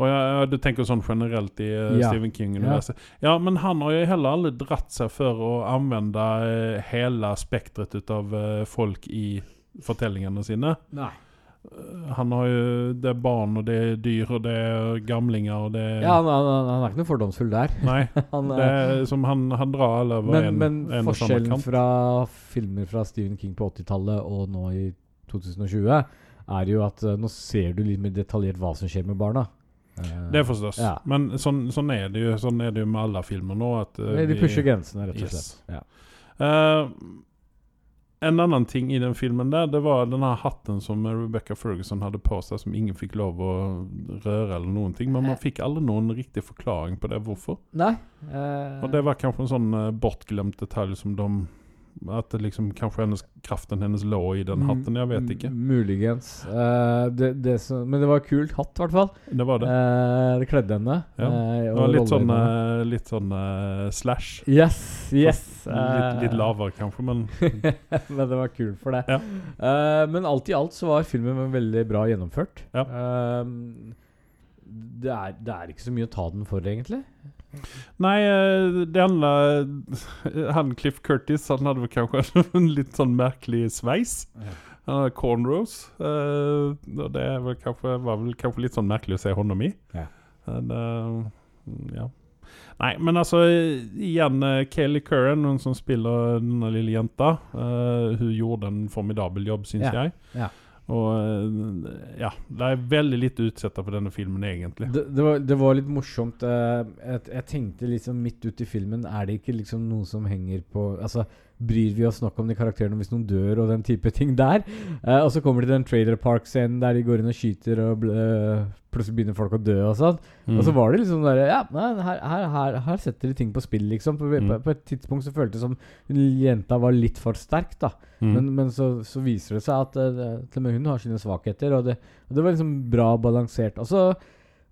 [SPEAKER 1] Og jeg, jeg, du tenker sånn generelt i eh,
[SPEAKER 2] Ja.
[SPEAKER 1] Stephen King-universet. Ja. men han har jo heller aldri dratt seg for å anvende eh, hele spektret av eh, folk i fortellingene sine.
[SPEAKER 2] Nei.
[SPEAKER 1] Eh, Han har jo Det er barn, og det er dyr, og det er gamlinger, og det er
[SPEAKER 2] Ja, han, han, han han er ikke noe fordomsfull der.
[SPEAKER 1] [laughs]
[SPEAKER 2] [laughs]
[SPEAKER 1] Nei.
[SPEAKER 2] Han,
[SPEAKER 1] Det
[SPEAKER 2] eh,
[SPEAKER 1] er som han, han drar alle over
[SPEAKER 2] men
[SPEAKER 1] en,
[SPEAKER 2] men
[SPEAKER 1] en og samme
[SPEAKER 2] forskjellen
[SPEAKER 1] kant.
[SPEAKER 2] fra filmer fra Stephen King på 80-tallet og nå i 2020, er jo at eh, nå ser du litt mer detaljert hva som skjer med barna. Eh,
[SPEAKER 1] Det forstås.
[SPEAKER 2] Ja.
[SPEAKER 1] Men sånn, sånn er det jo Sånn er det jo med alle filmer nå. At, eh,
[SPEAKER 2] Nei, De
[SPEAKER 1] vi-
[SPEAKER 2] pusher grensene, rett og
[SPEAKER 1] Yes.
[SPEAKER 2] slett. Ja.
[SPEAKER 1] Eh, en annen ting i den filmen der, det var den her hatten som Rebecca Ferguson hadde på seg, som ingen fikk lov å røre eller noen ting.
[SPEAKER 2] Eh.
[SPEAKER 1] Men man fikk aldri noen riktig forklaring på det, hvorfor.
[SPEAKER 2] Nei. eh,
[SPEAKER 1] Og det var kanskje en sånn eh, bortglemt detalj som de At det liksom kanskje hennes, kraften hennes lå i den
[SPEAKER 2] m-
[SPEAKER 1] hatten. Jeg vet ikke.
[SPEAKER 2] m- Muligens. Eh, det, det som, men det var kult hatt, i hvert fall.
[SPEAKER 1] Det var det.
[SPEAKER 2] Eh, det kledde henne.
[SPEAKER 1] Ja.
[SPEAKER 2] eh,
[SPEAKER 1] Det
[SPEAKER 2] og
[SPEAKER 1] var litt
[SPEAKER 2] rollen
[SPEAKER 1] sånn,
[SPEAKER 2] henne.
[SPEAKER 1] eh, litt sånn eh, slash.
[SPEAKER 2] Yes, yes.
[SPEAKER 1] Litt, litt
[SPEAKER 2] eh,
[SPEAKER 1] lavere, kanskje, men
[SPEAKER 2] [laughs] men det var kult for det.
[SPEAKER 1] Ja.
[SPEAKER 2] Eh, men alt i alt så var filmen veldig bra gjennomført.
[SPEAKER 1] Ja.
[SPEAKER 2] Eh, det, er, det er ikke så mye å ta den for, egentlig.
[SPEAKER 1] Nei, eh, det [laughs] handla Han Cliff Curtis han hadde vel kanskje en litt sånn merkelig sveis.
[SPEAKER 2] Ja.
[SPEAKER 1] Han hadde cornrows. eh, og det var, kanskje, var vel kanskje litt sånn merkelig å se hånda mi.
[SPEAKER 2] Ja.
[SPEAKER 1] Men, eh, ja. Nei, men altså Igjen eh, Kelly Curran, hun som spiller denne lille jenta. eh, hun gjorde en formidabel jobb, syns
[SPEAKER 2] Ja,
[SPEAKER 1] jeg.
[SPEAKER 2] ja.
[SPEAKER 1] Og eh, ja, det er veldig lite utsetta på denne filmen, egentlig.
[SPEAKER 2] Det, det, var, det var litt morsomt. eh, jeg, jeg tenkte liksom midt ute i filmen Er det ikke liksom noe som henger på Altså, Bryr vi oss nok om de karakterene hvis noen dør og den type ting der? Eh, og så kommer de til den Trailer Park-scenen der de går inn og skyter, og ble, plutselig begynner folk å dø og sånn. Og
[SPEAKER 1] Mm.
[SPEAKER 2] så var det liksom der Ja, nei, her, her, her, her setter de ting på spill, liksom. På, på,
[SPEAKER 1] Mm.
[SPEAKER 2] på et tidspunkt så føltes det som hun jenta var litt for sterk, da.
[SPEAKER 1] Mm.
[SPEAKER 2] Men, men så, så viser det seg at eh, til og med hun har sine svakheter, og det, og det var liksom bra balansert. Og så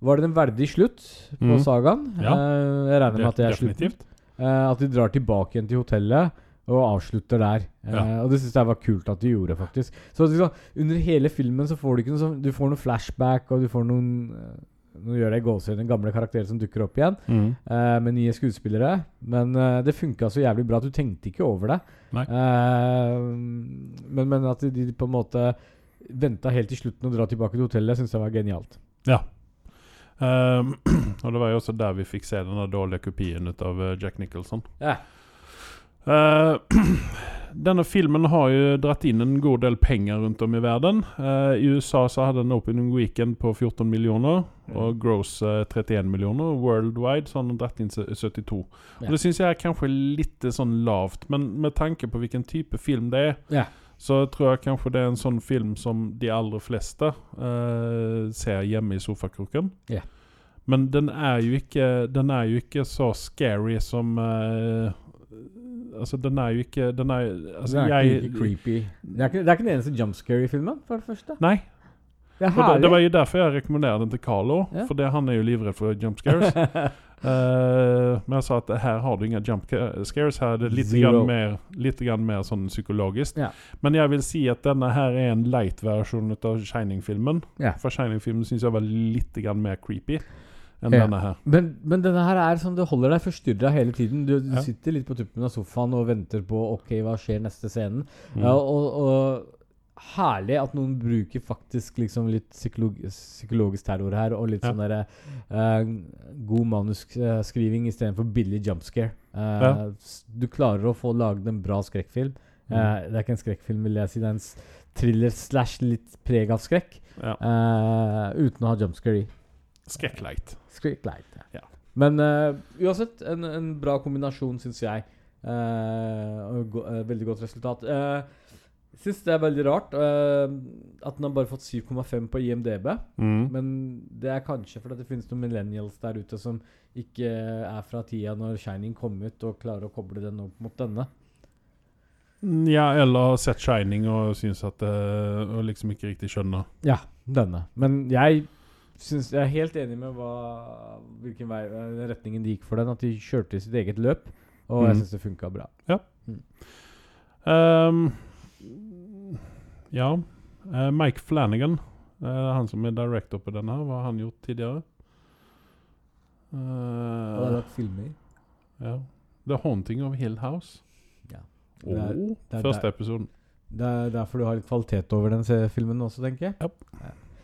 [SPEAKER 2] var det en verdig slutt på
[SPEAKER 1] Mm.
[SPEAKER 2] sagaen.
[SPEAKER 1] Ja.
[SPEAKER 2] Eh, jeg regner med at det er slutten.
[SPEAKER 1] Definitivt.
[SPEAKER 2] Eh, at de drar tilbake igjen til hotellet og avslutter der. Eh,
[SPEAKER 1] Ja.
[SPEAKER 2] Og det syns jeg var kult at de gjorde, faktisk. Så liksom, under hele filmen så får du ikke noe sånn Du får noe flashback, og du får noen eh, Nå gjør jeg gåsehud, den gamle karakterer som dukker opp igjen.
[SPEAKER 1] Mm.
[SPEAKER 2] Eh, med nye skuespillere. Men eh, det funka så jævlig bra at du tenkte ikke over det.
[SPEAKER 1] Nei.
[SPEAKER 2] Eh, men, men at de, de på en måte venta helt til slutten å dra tilbake til hotellet, syns jeg var genialt.
[SPEAKER 1] Ehm, [clears throat] og det var jo også der vi fikk se den dårlige kopien ut av eh, Jack Nicholson.
[SPEAKER 2] Ja.
[SPEAKER 1] Eh, [clears throat] denne filmen har jo dratt inn en god del penger rundt om i verden. Eh, I USA så hadde den opening weekend på 14 millioner, og gross eh, 31 millioner. Worldwide så har den dratt inn se- 72.
[SPEAKER 2] Ja.
[SPEAKER 1] Og Det syns jeg er kanskje litt sånn lavt, men med tanke på hvilken type film det er,
[SPEAKER 2] Ja.
[SPEAKER 1] så tror jeg kanskje det er en sånn film som de aller fleste eh, ser hjemme i sofakroken.
[SPEAKER 2] Ja.
[SPEAKER 1] Men den er jo ikke Den er jo ikke så scary som eh, Altså, den er jo ikke Den er altså,
[SPEAKER 2] det er
[SPEAKER 1] jeg,
[SPEAKER 2] ikke like creepy. Det er ikke, det er ikke den eneste jumpscare i filmen, for det første.
[SPEAKER 1] Nei.
[SPEAKER 2] Det er
[SPEAKER 1] Og det, det
[SPEAKER 2] herlig.
[SPEAKER 1] var jo derfor jeg rekommenderer den til Carlo,
[SPEAKER 2] Ja.
[SPEAKER 1] for det, han er jo livredd for jump scares.
[SPEAKER 2] [laughs]
[SPEAKER 1] Eh, men jeg sa at her har du ingen jump ca- scares. Her er det litt,
[SPEAKER 2] Zero.
[SPEAKER 1] grann mer, litt grann mer sånn psykologisk.
[SPEAKER 2] Ja.
[SPEAKER 1] Men jeg vil si at denne her er en light-versjon av Shining-filmen.
[SPEAKER 2] Ja.
[SPEAKER 1] For Shining-filmen syns jeg var litt grann mer creepy enn
[SPEAKER 2] Ja.
[SPEAKER 1] denne her.
[SPEAKER 2] men, men denne her er sånn, det holder deg forstyrra hele tiden. Du, du
[SPEAKER 1] Ja.
[SPEAKER 2] sitter litt på tuppen av sofaen og venter på OK, hva skjer neste scenen?
[SPEAKER 1] Mm.
[SPEAKER 2] Ja, og, og herlig at noen bruker faktisk liksom litt psykolog, psykologisk terror her, og litt
[SPEAKER 1] Ja.
[SPEAKER 2] sånn derre eh, god manusskriving istedenfor billig jumpscare. Eh,
[SPEAKER 1] Ja.
[SPEAKER 2] s- Du klarer å få laget en bra skrekkfilm. Eh,
[SPEAKER 1] Mm.
[SPEAKER 2] det er ikke en skrekkfilm, vil jeg si. Det er en s- thriller slash litt preg av skrekk.
[SPEAKER 1] Ja.
[SPEAKER 2] eh, uten å ha jumpscare i.
[SPEAKER 1] Skrekk-light.
[SPEAKER 2] Skrekklight.
[SPEAKER 1] Ja.
[SPEAKER 2] Men eh, uansett, en, en bra kombinasjon, syns jeg. Eh, og go eh, veldig godt resultat. Uh, syns det er veldig rart eh, at den har bare fått 7,5 på IMDb.
[SPEAKER 1] Mm.
[SPEAKER 2] Men det er kanskje fordi det finnes noen millennials der ute som ikke er fra tida når Shining kom ut, og klarer å koble den opp mot denne.
[SPEAKER 1] Ja, eller har sett Shining og syns at eh, Og liksom ikke riktig skjønner.
[SPEAKER 2] Ja, denne. Men jeg syns Jeg er helt enig med hva, hvilken vei, eh, retningen de gikk for den. At de kjørte sitt eget løp, og
[SPEAKER 1] Mhm.
[SPEAKER 2] jeg syns det funka bra.
[SPEAKER 1] Ehm, ja eh, Mike Flanagan, eh, han som er director på denne, her, hva har han gjort tidligere?
[SPEAKER 2] Og
[SPEAKER 1] Eh,
[SPEAKER 2] det er lagt filmer.
[SPEAKER 1] ja. The Haunting of Hill House.
[SPEAKER 2] Ja.
[SPEAKER 1] Oh,
[SPEAKER 2] Det er- det er
[SPEAKER 1] første
[SPEAKER 2] der-
[SPEAKER 1] episoden.
[SPEAKER 2] Det er derfor du har litt kvalitet over den se- filmen også, tenker jeg.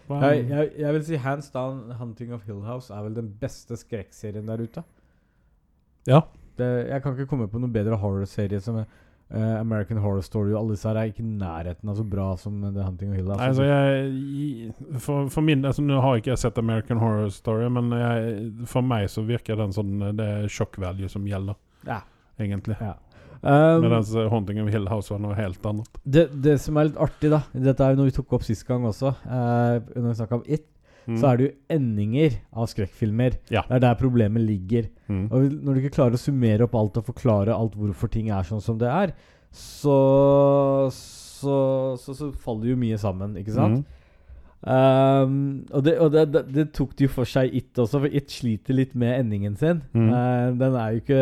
[SPEAKER 1] Hva er-
[SPEAKER 2] Jeg, jeg. jeg vil si hands down 'Hunting of Hill House' er vel den beste skrekkserien der ute.
[SPEAKER 1] Ja.
[SPEAKER 2] Det, jeg kan ikke komme på noen bedre horrorserie som eh, American Horror Story og alle disse her er ikke i nærheten av så bra som eh, The Hunting of Hill House.
[SPEAKER 1] Nei, altså jeg, for, for min altså, Nå har ikke jeg sett American Horror Story, men jeg, for meg så virker den sånn eh, Det er shock value som gjelder,
[SPEAKER 2] Ja.
[SPEAKER 1] egentlig.
[SPEAKER 2] Ja. Um,
[SPEAKER 1] Mens eh, Haunting of Hill House var noe helt annet.
[SPEAKER 2] det, det som er litt artig, da Dette er jo noe vi tok opp sist gang også. eh, når vi snakka om It, så er det jo endinger av skrekkfilmer.
[SPEAKER 1] Mm. Ja.
[SPEAKER 2] Det er der problemet ligger.
[SPEAKER 1] Mm.
[SPEAKER 2] Og når du ikke klarer å summere opp alt og forklare alt hvorfor ting er sånn som det er, så så, så, så faller jo mye sammen,
[SPEAKER 1] Mm.
[SPEAKER 2] ikke sant? Ehm, og det, og det, det, det tok de jo for seg i It også, for It sliter litt med endingen sin.
[SPEAKER 1] Mm.
[SPEAKER 2] Eh, den er jo ikke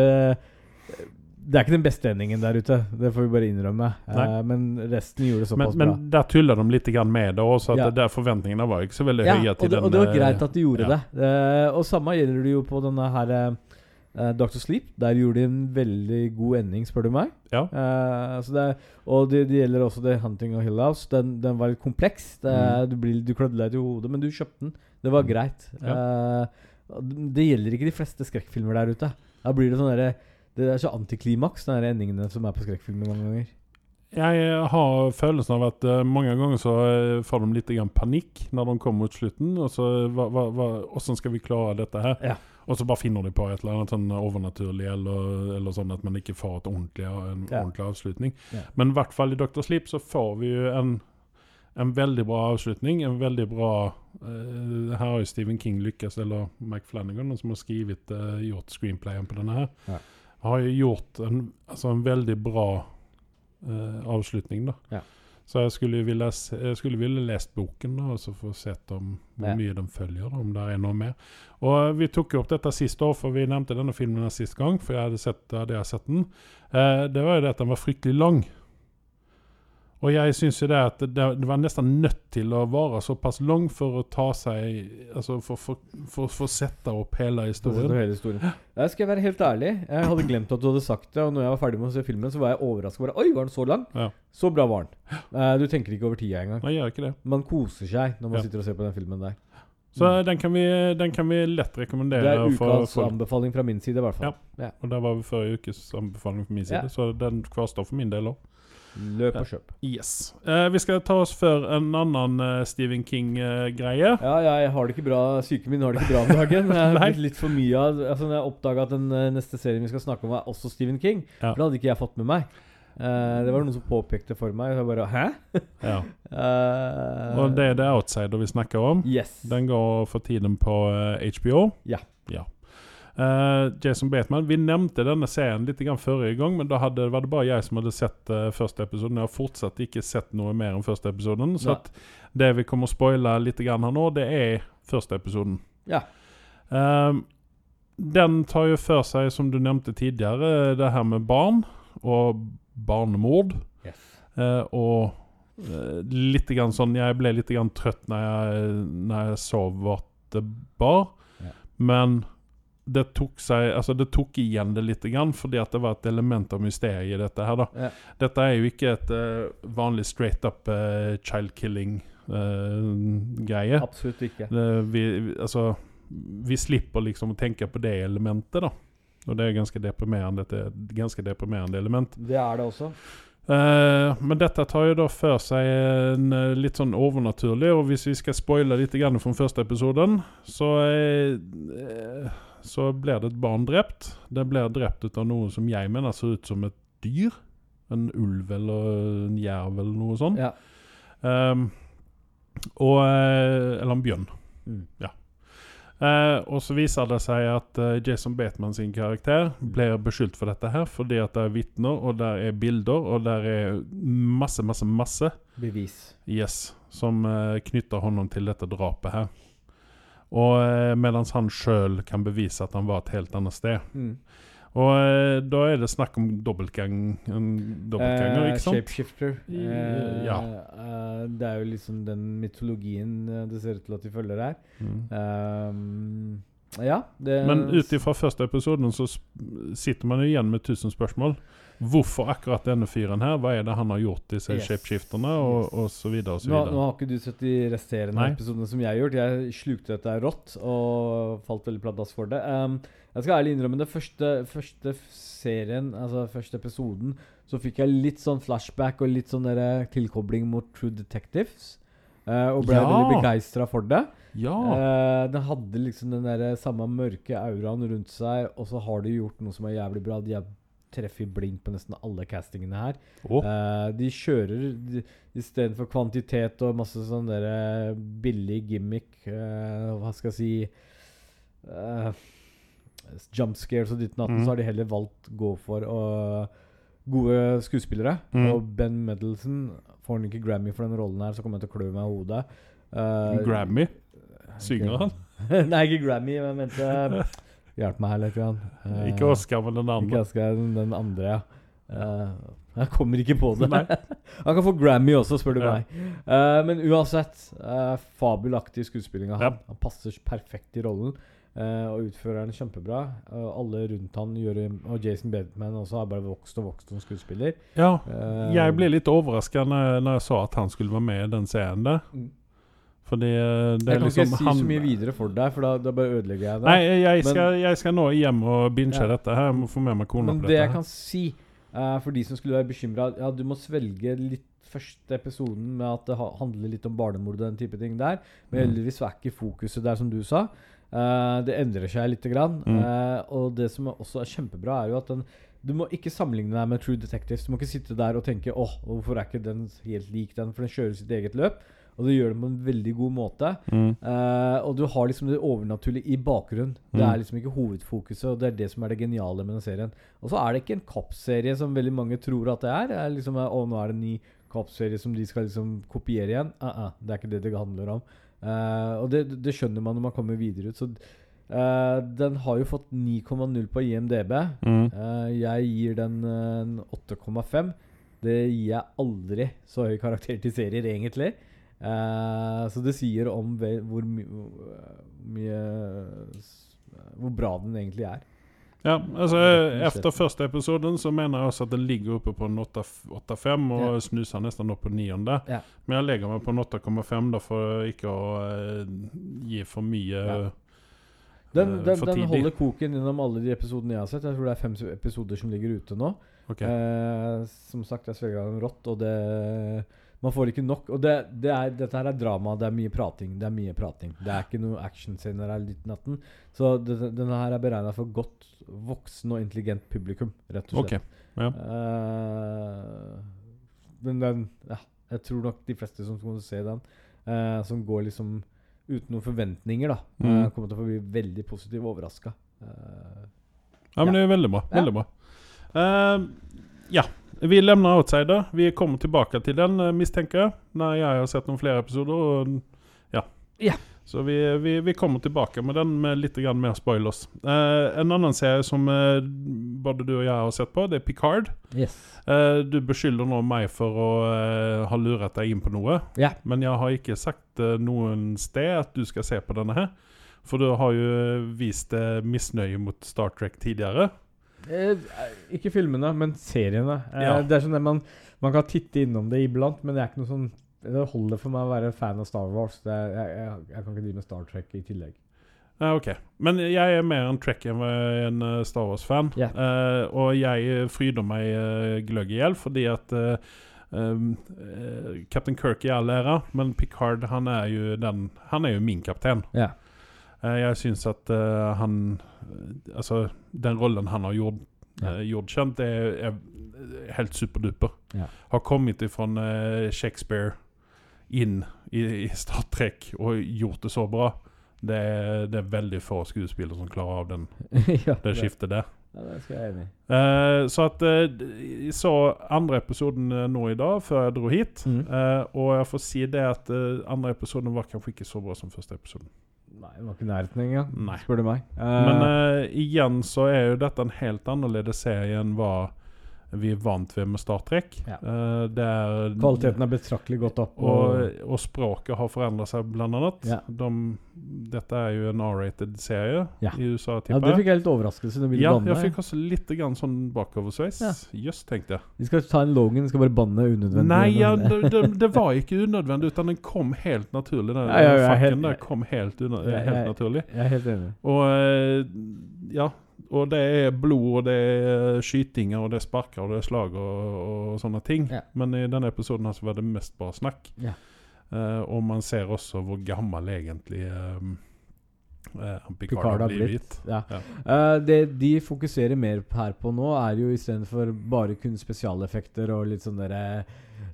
[SPEAKER 2] Det er ikke den beste endingen der ute, det får vi bare innrømme. Eh,
[SPEAKER 1] Nei.
[SPEAKER 2] men resten gjorde
[SPEAKER 1] Men,
[SPEAKER 2] såpass bra.
[SPEAKER 1] men der tuller de litt grann med det også, at
[SPEAKER 2] Ja.
[SPEAKER 1] det der forventningene var ikke så veldig høye
[SPEAKER 2] og
[SPEAKER 1] til
[SPEAKER 2] det,
[SPEAKER 1] den
[SPEAKER 2] og det var
[SPEAKER 1] eh,
[SPEAKER 2] greit at de gjorde
[SPEAKER 1] ja.
[SPEAKER 2] det. Eh, og samme gjelder det jo på denne her eh, eh, Dr. Sleep. Der gjorde de en veldig god ending, spør du meg.
[SPEAKER 1] Ja.
[SPEAKER 2] Eh, så det er, og det, det gjelder også The Hunting of Hill House. Den, den var litt kompleks. Det,
[SPEAKER 1] Mm.
[SPEAKER 2] er- Du, blir, du klødde deg til hodet, men du kjøpte den. Det var greit. Eh, det gjelder ikke de fleste skrekkfilmer der ute. Da blir det sånn derre Det er så antiklimaks, de endingene som er på skrekkfilmer mange ganger.
[SPEAKER 1] Jeg eh, har følelsen av at eh, mange ganger så eh, får de litt grann panikk når de kommer mot slutten. Og så eh, hva, hva, hva, Hvordan skal vi klare dette her?
[SPEAKER 2] Ja.
[SPEAKER 1] Og så bare finner de på et eller annet sånn overnaturlig, eller, eller sånn at man ikke får et ordentlig, eh, en
[SPEAKER 2] Ja.
[SPEAKER 1] ordentlig avslutning.
[SPEAKER 2] Ja.
[SPEAKER 1] Men i hvert fall i Dr. Sleep så får vi jo en, en veldig bra avslutning. En veldig bra eh, Her har jo Stephen King lykkes, eller Mike Flanagan, som har skrivet, eh, gjort screenplayen på denne her,
[SPEAKER 2] Ja.
[SPEAKER 1] har jo gjort en, altså en veldig bra eh, avslutning, da.
[SPEAKER 2] Ja.
[SPEAKER 1] Så jeg skulle, jo ville, se- jeg skulle ville lest boken da, og så få sett om hvor
[SPEAKER 2] Ja.
[SPEAKER 1] mye de følger, da, om det er noe mer. Og eh, Vi tok jo opp dette sist år, for vi nevnte denne filmen her sist gang. For jeg hadde sett, da hadde jeg sett den. Eh, det var jo det at den var fryktelig lang. Og jeg syns jo det at det, det var nesten nødt til å være såpass lang for å ta seg Altså for å for, for, for sette opp hele
[SPEAKER 2] Fortsett å
[SPEAKER 1] historien.
[SPEAKER 2] høre historien. Jeg skal være helt ærlig. Jeg hadde glemt at du hadde sagt det. Og når jeg var ferdig med å se filmen, så var jeg overraska. Bare, Oi, var den så lang?
[SPEAKER 1] Ja.
[SPEAKER 2] Så bra var den. Eh, du tenker ikke over tida engang.
[SPEAKER 1] Nei, jeg gjør ikke det.
[SPEAKER 2] Man koser seg når man
[SPEAKER 1] Ja.
[SPEAKER 2] sitter og ser på den filmen der.
[SPEAKER 1] Så den kan vi, den kan vi lett
[SPEAKER 2] Mm. Det
[SPEAKER 1] rekommendere.
[SPEAKER 2] er
[SPEAKER 1] for
[SPEAKER 2] ukas
[SPEAKER 1] folk.
[SPEAKER 2] anbefaling fra min side, i hvert fall.
[SPEAKER 1] Og det var forrige ukes anbefaling fra min side,
[SPEAKER 2] Ja.
[SPEAKER 1] så den kvarstår for min del òg.
[SPEAKER 2] Løp og kjøp.
[SPEAKER 1] Yes. Eh, vi skal ta oss for en annen eh, Stephen King-greie.
[SPEAKER 2] Ja, ja, jeg har det ikke bra. Psyken min har det ikke bra om dagen. Jeg har
[SPEAKER 1] Nei.
[SPEAKER 2] blitt litt for mye av altså, når Jeg oppdaga at den eh, neste serien vi skal snakke om, er også Stephen King.
[SPEAKER 1] Ja.
[SPEAKER 2] For det hadde ikke jeg fått med meg. Eh, det var noen som påpekte for meg, og jeg bare Hæ?
[SPEAKER 1] ja.
[SPEAKER 2] Eh,
[SPEAKER 1] Og det er The Outsider vi snakker om.
[SPEAKER 2] Yes.
[SPEAKER 1] Den går for tiden på eh, HBO.
[SPEAKER 2] Ja.
[SPEAKER 1] Eh, Jason Bateman. Vi nevnte denne serien litt grann forrige gang, men da hadde, var det bare jeg som hadde sett eh, første episoden. Jeg har fortsatt ikke sett noe mer enn første episoden. Så
[SPEAKER 2] Nei.
[SPEAKER 1] at det vi kommer å spoile litt grann her nå, det er første episoden.
[SPEAKER 2] Ja.
[SPEAKER 1] Ehm, den tar jo for seg, som du nevnte tidligere, det her med barn og barnemord.
[SPEAKER 2] Yes.
[SPEAKER 1] Eh, og eh, litt grann sånn Jeg ble litt grann trøtt når jeg, når jeg så vårt det bar.
[SPEAKER 2] Ja.
[SPEAKER 1] Men det tok seg Altså, det tok igjen det litt grann, fordi at det var et element av mysteriet i dette her, da.
[SPEAKER 2] Ja.
[SPEAKER 1] Dette er jo ikke et eh, vanlig straight up eh, child killing-greie.
[SPEAKER 2] Absolutt ikke.
[SPEAKER 1] Det- vi, vi- altså, vi slipper liksom å tenke på det elementet, da. Og det er ganske deprimerende, et et ganske deprimerende element.
[SPEAKER 2] Det er det også.
[SPEAKER 1] Eh, men dette tar jo da for seg en eh, litt sånn overnaturlig, og hvis vi skal spoile litt grann fra første episoden, så eh, eh, Så blir det et barn drept. Det blir drept ut av noe som jeg mener ser ut som et dyr. En ulv eller en jerv eller noe sånt.
[SPEAKER 2] Ja.
[SPEAKER 1] Ehm, og eh, Eller en bjørn.
[SPEAKER 2] Mm.
[SPEAKER 1] Ja. Eh, og så viser det seg at eh, Jason Bateman sin karakter blir beskyldt for dette her, fordi at det er vitner, og der er bilder, og der er masse, masse, masse
[SPEAKER 2] Bevis.
[SPEAKER 1] yes, som eh, knytter honom til dette drapet her. Og eh, mens han sjøl kan bevise at han var et helt annet sted.
[SPEAKER 2] Mm.
[SPEAKER 1] Og eh, da er det snakk om dobbeltgang, en dobbeltganger,
[SPEAKER 2] Eh,
[SPEAKER 1] ikke sant?
[SPEAKER 2] Shapeshifter. Eh,
[SPEAKER 1] Ja.
[SPEAKER 2] eh, det er jo liksom den mytologien eh, det ser ut til at de følger her.
[SPEAKER 1] Mm.
[SPEAKER 2] Ehm, ja, det
[SPEAKER 1] Men ut ifra første episoden så sp- sitter man jo igjen med tusen spørsmål. Hvorfor akkurat denne fyren her? Hva er det han har gjort, disse
[SPEAKER 2] Yes.
[SPEAKER 1] shapeshifterne, og,
[SPEAKER 2] Yes.
[SPEAKER 1] og så videre og så
[SPEAKER 2] nå, nå
[SPEAKER 1] videre.
[SPEAKER 2] har ikke du sett de resterende
[SPEAKER 1] Nei.
[SPEAKER 2] episodene som jeg har gjort. Jeg slukte dette rått og falt veldig pladask for det. Ehm, jeg skal ærlig innrømme det første, første f- serien, altså første episoden, så fikk jeg litt sånn flashback og litt sånn derre tilkobling mot True Detectives. eh, og ble
[SPEAKER 1] Ja. Ah.
[SPEAKER 2] veldig begeistra for det.
[SPEAKER 1] Ja!
[SPEAKER 2] Eh, den hadde liksom den der samme mørke auraen rundt seg, og så har de gjort noe som er jævlig bra. De er treffer i blink på nesten alle castingene her.
[SPEAKER 1] Å.
[SPEAKER 2] Eh, de kjører de- istedenfor kvantitet og masse sånn derre billig gimmick eh, Hva skal jeg si eh, Jump scares og ditt og datten,
[SPEAKER 1] Mhm.
[SPEAKER 2] så har de heller valgt gå for å gode skuespillere.
[SPEAKER 1] Mhm.
[SPEAKER 2] Og Ben Medelson får han ikke Grammy for den rollen her, så kommer jeg til å klø meg i hodet. Eh,
[SPEAKER 1] Grammy. Synger han?
[SPEAKER 2] [laughs] Nei, ikke Grammy, men jeg
[SPEAKER 1] [laughs]
[SPEAKER 2] mente Hjelp meg her litt. Grann. Eh,
[SPEAKER 1] Ikke Oscar, men den
[SPEAKER 2] Ikke
[SPEAKER 1] andre.
[SPEAKER 2] Oscar, den- den andre, ja. Eh, jeg kommer ikke på det. [laughs] Han kan få Grammy også, spør du
[SPEAKER 1] Ja.
[SPEAKER 2] meg. Eh, men uansett, eh, fabelaktig skuespilling av han.
[SPEAKER 1] Ja.
[SPEAKER 2] Han passer perfekt i rollen. eh, og utfører den kjempebra. Og alle rundt han gjør Og Jason Bateman også har bare vokst og vokst som skuespiller.
[SPEAKER 1] Ja.
[SPEAKER 2] Eh,
[SPEAKER 1] Jeg ble litt overraska når, når jeg sa at han skulle være med i den serien der.
[SPEAKER 2] Mm.
[SPEAKER 1] Fordi eh, det
[SPEAKER 2] Jeg
[SPEAKER 1] er
[SPEAKER 2] kan
[SPEAKER 1] liksom
[SPEAKER 2] ikke si
[SPEAKER 1] han
[SPEAKER 2] så mye videre for deg, for da, da bare ødelegger jeg det.
[SPEAKER 1] Nei, jeg
[SPEAKER 2] men-
[SPEAKER 1] skal, jeg skal nå hjem og binge
[SPEAKER 2] Ja.
[SPEAKER 1] dette her. Jeg må få med meg kona
[SPEAKER 2] Men
[SPEAKER 1] på dette.
[SPEAKER 2] det jeg
[SPEAKER 1] her.
[SPEAKER 2] kan si eh, for de som skulle være bekymra Ja, du må svelge litt første episoden med at det ha- handler litt om barnemord og den type ting der. Men heldigvis er ikke fokuset der, som du sa. Eh, det endrer seg lite grann. Eh, og det som er- også er kjempebra, er jo at den du må ikke sammenligne deg med True Detectives. Du må ikke sitte der og tenke åh, hvorfor er ikke den helt lik den, for den kjører sitt eget løp. Og det gjør det på en veldig god måte. Eh, og du har liksom det overnaturlige i bakgrunnen. Det er liksom ikke hovedfokuset, og det er det som er det geniale med den serien. Og så er det ikke en kappserie som veldig mange tror at det er. Det er liksom, å, nå er det en ny kappserie som de skal liksom kopiere igjen. Eh, eh, det er ikke det det handler om. Eh, og det, det skjønner man når man kommer videre ut. Så eh, den har jo fått 9,0 på IMDb. Eh, jeg gir den eh, en 8,5. Det gir jeg aldri så høy karakter til serier, egentlig. Eh, så det sier om ve hvor my hvor mye s- eh, Hvor bra den egentlig er.
[SPEAKER 1] Ja, altså
[SPEAKER 2] Rett og slett.
[SPEAKER 1] Efter første episoden så mener jeg også at den ligger oppe på en 8,5 og
[SPEAKER 2] Ja.
[SPEAKER 1] snuser nesten opp på niende.
[SPEAKER 2] Ja.
[SPEAKER 1] Men jeg legger meg på en 8,5 da for ikke å eh, gi for mye
[SPEAKER 2] Ja. Den,
[SPEAKER 1] Eh,
[SPEAKER 2] den,
[SPEAKER 1] for
[SPEAKER 2] den
[SPEAKER 1] tidlig.
[SPEAKER 2] holder koken gjennom alle de episodene jeg har sett. Jeg tror det er fem s- episoder som ligger ute nå.
[SPEAKER 1] Ok.
[SPEAKER 2] Eh, som sagt, jeg svelger den rått, og det Man får ikke nok. Og det, det er, dette her er drama, det er mye prating. Det er mye prating. Det er ikke noe actionscener her litt natten. Så det, denne her er beregna for godt voksen og intelligent publikum, rett og slett.
[SPEAKER 1] Ok. Ja.
[SPEAKER 2] Eh, men den ja, Jeg tror nok de fleste som kommer til å se den, eh, som går liksom uten noen forventninger, da,
[SPEAKER 1] Mm.
[SPEAKER 2] eh, kommer til å bli veldig positivt Eh, overraska.
[SPEAKER 1] Ja, men det er veldig bra.
[SPEAKER 2] Ja.
[SPEAKER 1] Veldig bra. Eh, ja. Vi lämnar Outsider. Vi kommer tilbake til den, eh, misstänker jeg, når jeg har sett noen flere episoder. Og, ja.
[SPEAKER 2] Ja.
[SPEAKER 1] Så vi, vi, vi kommer tilbake med den med litt grann mer spoilers. Eh, en annen serie som eh, både du og jeg har sett på, det er Picard.
[SPEAKER 2] yes.
[SPEAKER 1] Eh, du beskylder nå meg for å eh, ha luret deg inn på noe,
[SPEAKER 2] Ja.
[SPEAKER 1] men jeg har ikke sagt eh, noen sted at du skal se på denne her. For du har jo vist eh, misnøye mot Star Trek tidligere.
[SPEAKER 2] Eh, ikke filmene, men seriene. Eh,
[SPEAKER 1] Ja.
[SPEAKER 2] Det er sånn at man, man kan titte innom det iblant, men det er ikke noe sånn det holder for meg å være fan av Star Wars. Det er, jeg, jeg, jeg kan ikke drive med Star Trek i
[SPEAKER 1] [laughs]
[SPEAKER 2] tillegg.
[SPEAKER 1] Ja, Eh, ok. Men jeg er mer en Trek enn en eh, Star Wars-fan.
[SPEAKER 2] Ja.
[SPEAKER 1] Eh, og jeg eh, fryder meg eh, gløgg i hjel fordi at eh, um, eh, Captain Kirk i all ære, men Picard han er jo, den, han er jo min kaptein.
[SPEAKER 2] Ja.
[SPEAKER 1] Eh, jeg syns at eh, han eh, Altså, den rollen han har gjort,
[SPEAKER 2] Ja.
[SPEAKER 1] eh, gjort kjent, er, er helt superduper.
[SPEAKER 2] Ja.
[SPEAKER 1] Har kommet ifra eh, Shakespeare inn i, i Star Trek og gjort det så bra. Det er, det er veldig få skuespillere som klarer av den,
[SPEAKER 2] ja,
[SPEAKER 1] det skiftet der.
[SPEAKER 2] Ja, det skal jeg være enig i.
[SPEAKER 1] Eh, så at eh, d- Jeg så andre episoden eh, nå i dag, før jeg dro hit.
[SPEAKER 2] Mhm.
[SPEAKER 1] Eh, og jeg får si det at eh, andre episoden var kanskje ikke så bra som første episoden.
[SPEAKER 2] Nei, det var ikke i nærheten engang,
[SPEAKER 1] Nei.
[SPEAKER 2] spør du meg. Eh,
[SPEAKER 1] Men eh, igjen så er jo dette en helt annerledes serie enn hva vi er vant ved med Star Trek.
[SPEAKER 2] Ja.
[SPEAKER 1] Eh, det er
[SPEAKER 2] Kvaliteten er betraktelig gått opp.
[SPEAKER 1] Og, og språket har forandret seg, blant annet.
[SPEAKER 2] Ja.
[SPEAKER 1] De, dette er jo en R-rated serie
[SPEAKER 2] Ja.
[SPEAKER 1] i USA,
[SPEAKER 2] ja, det
[SPEAKER 1] tipper jeg.
[SPEAKER 2] fikk jeg litt overraskelse når vi
[SPEAKER 1] Ja,
[SPEAKER 2] banna.
[SPEAKER 1] jeg fikk også litt grann sånn bakoversveis.
[SPEAKER 2] Ja.
[SPEAKER 1] Jøss, tenkte jeg.
[SPEAKER 2] Vi skal ta en Logan, skal bare banne unødvendig. eh,
[SPEAKER 1] Nei, ja, det, det, det var ikke unødvendig, utan den kom helt naturlig. Den
[SPEAKER 2] Ja, ja, ja,
[SPEAKER 1] fakken
[SPEAKER 2] helt-
[SPEAKER 1] der kom helt, unø-
[SPEAKER 2] Ja,
[SPEAKER 1] helt
[SPEAKER 2] ja.
[SPEAKER 1] naturlig.
[SPEAKER 2] Jeg er helt enig.
[SPEAKER 1] Og eh, ja, og det er blod, og det er skytinger, og det er sparker, og det er slag og, og sånne ting.
[SPEAKER 2] Ja.
[SPEAKER 1] Men i denne episoden her så var det mest bare snakk.
[SPEAKER 2] Ja.
[SPEAKER 1] Eh, og man ser også hvor gammel egentlig eh, eh, Picard
[SPEAKER 2] Picard
[SPEAKER 1] har
[SPEAKER 2] har
[SPEAKER 1] blitt.
[SPEAKER 2] blitt. Ja.
[SPEAKER 1] Ja.
[SPEAKER 2] Eh, det de fokuserer mer p- her på nå, er jo istedenfor bare kun spesialeffekter og litt sånn derre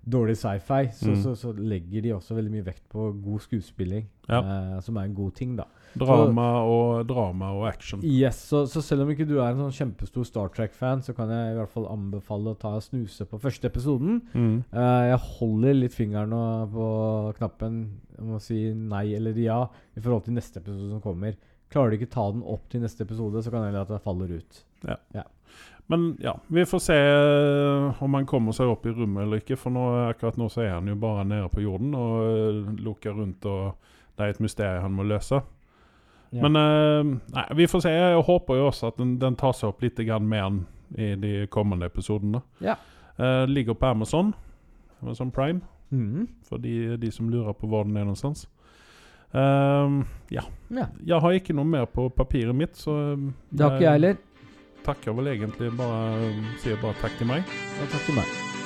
[SPEAKER 2] dårlig sci-fi, så,
[SPEAKER 1] Mm.
[SPEAKER 2] så, så legger de også veldig mye vekt på god skuespilling, eh, som er en god ting, da.
[SPEAKER 1] Drama og drama og action.
[SPEAKER 2] Yes, så, så selv om ikke du er en sånn kjempestor Star Trek-fan, så kan jeg i hvert fall anbefale å ta og snuse på første episoden.
[SPEAKER 1] Mm.
[SPEAKER 2] Eh, jeg holder litt fingeren nå på knappen om å si nei eller ja i forhold til neste episode som kommer. Klarer du ikke ta den opp til neste episode, så kan det hende at det faller ut.
[SPEAKER 1] Men ja, vi får se eh, om han kommer seg opp i rommet eller ikke. For nå, akkurat nå så er han jo bare nede på jorden og eh, lukker rundt, og det er et mysterium han må løse.
[SPEAKER 2] Ja.
[SPEAKER 1] Men eh, nei, vi får se. Jeg håper jo også at den, den tar seg opp litt grann mer enn i de kommende episodene.
[SPEAKER 2] Ja.
[SPEAKER 1] Eh, ligger på Amazon, Amazon Prime,
[SPEAKER 2] Mhm.
[SPEAKER 1] for de, de som lurer på hvor den er noenstans. Eh, ja.
[SPEAKER 2] Ja.
[SPEAKER 1] Jeg har ikke noe mer på papiret mitt, så eh,
[SPEAKER 2] Eh, Det har ikke jeg heller.
[SPEAKER 1] Takker vel egentlig bare Sier bare takk til meg.
[SPEAKER 2] Og takk til meg.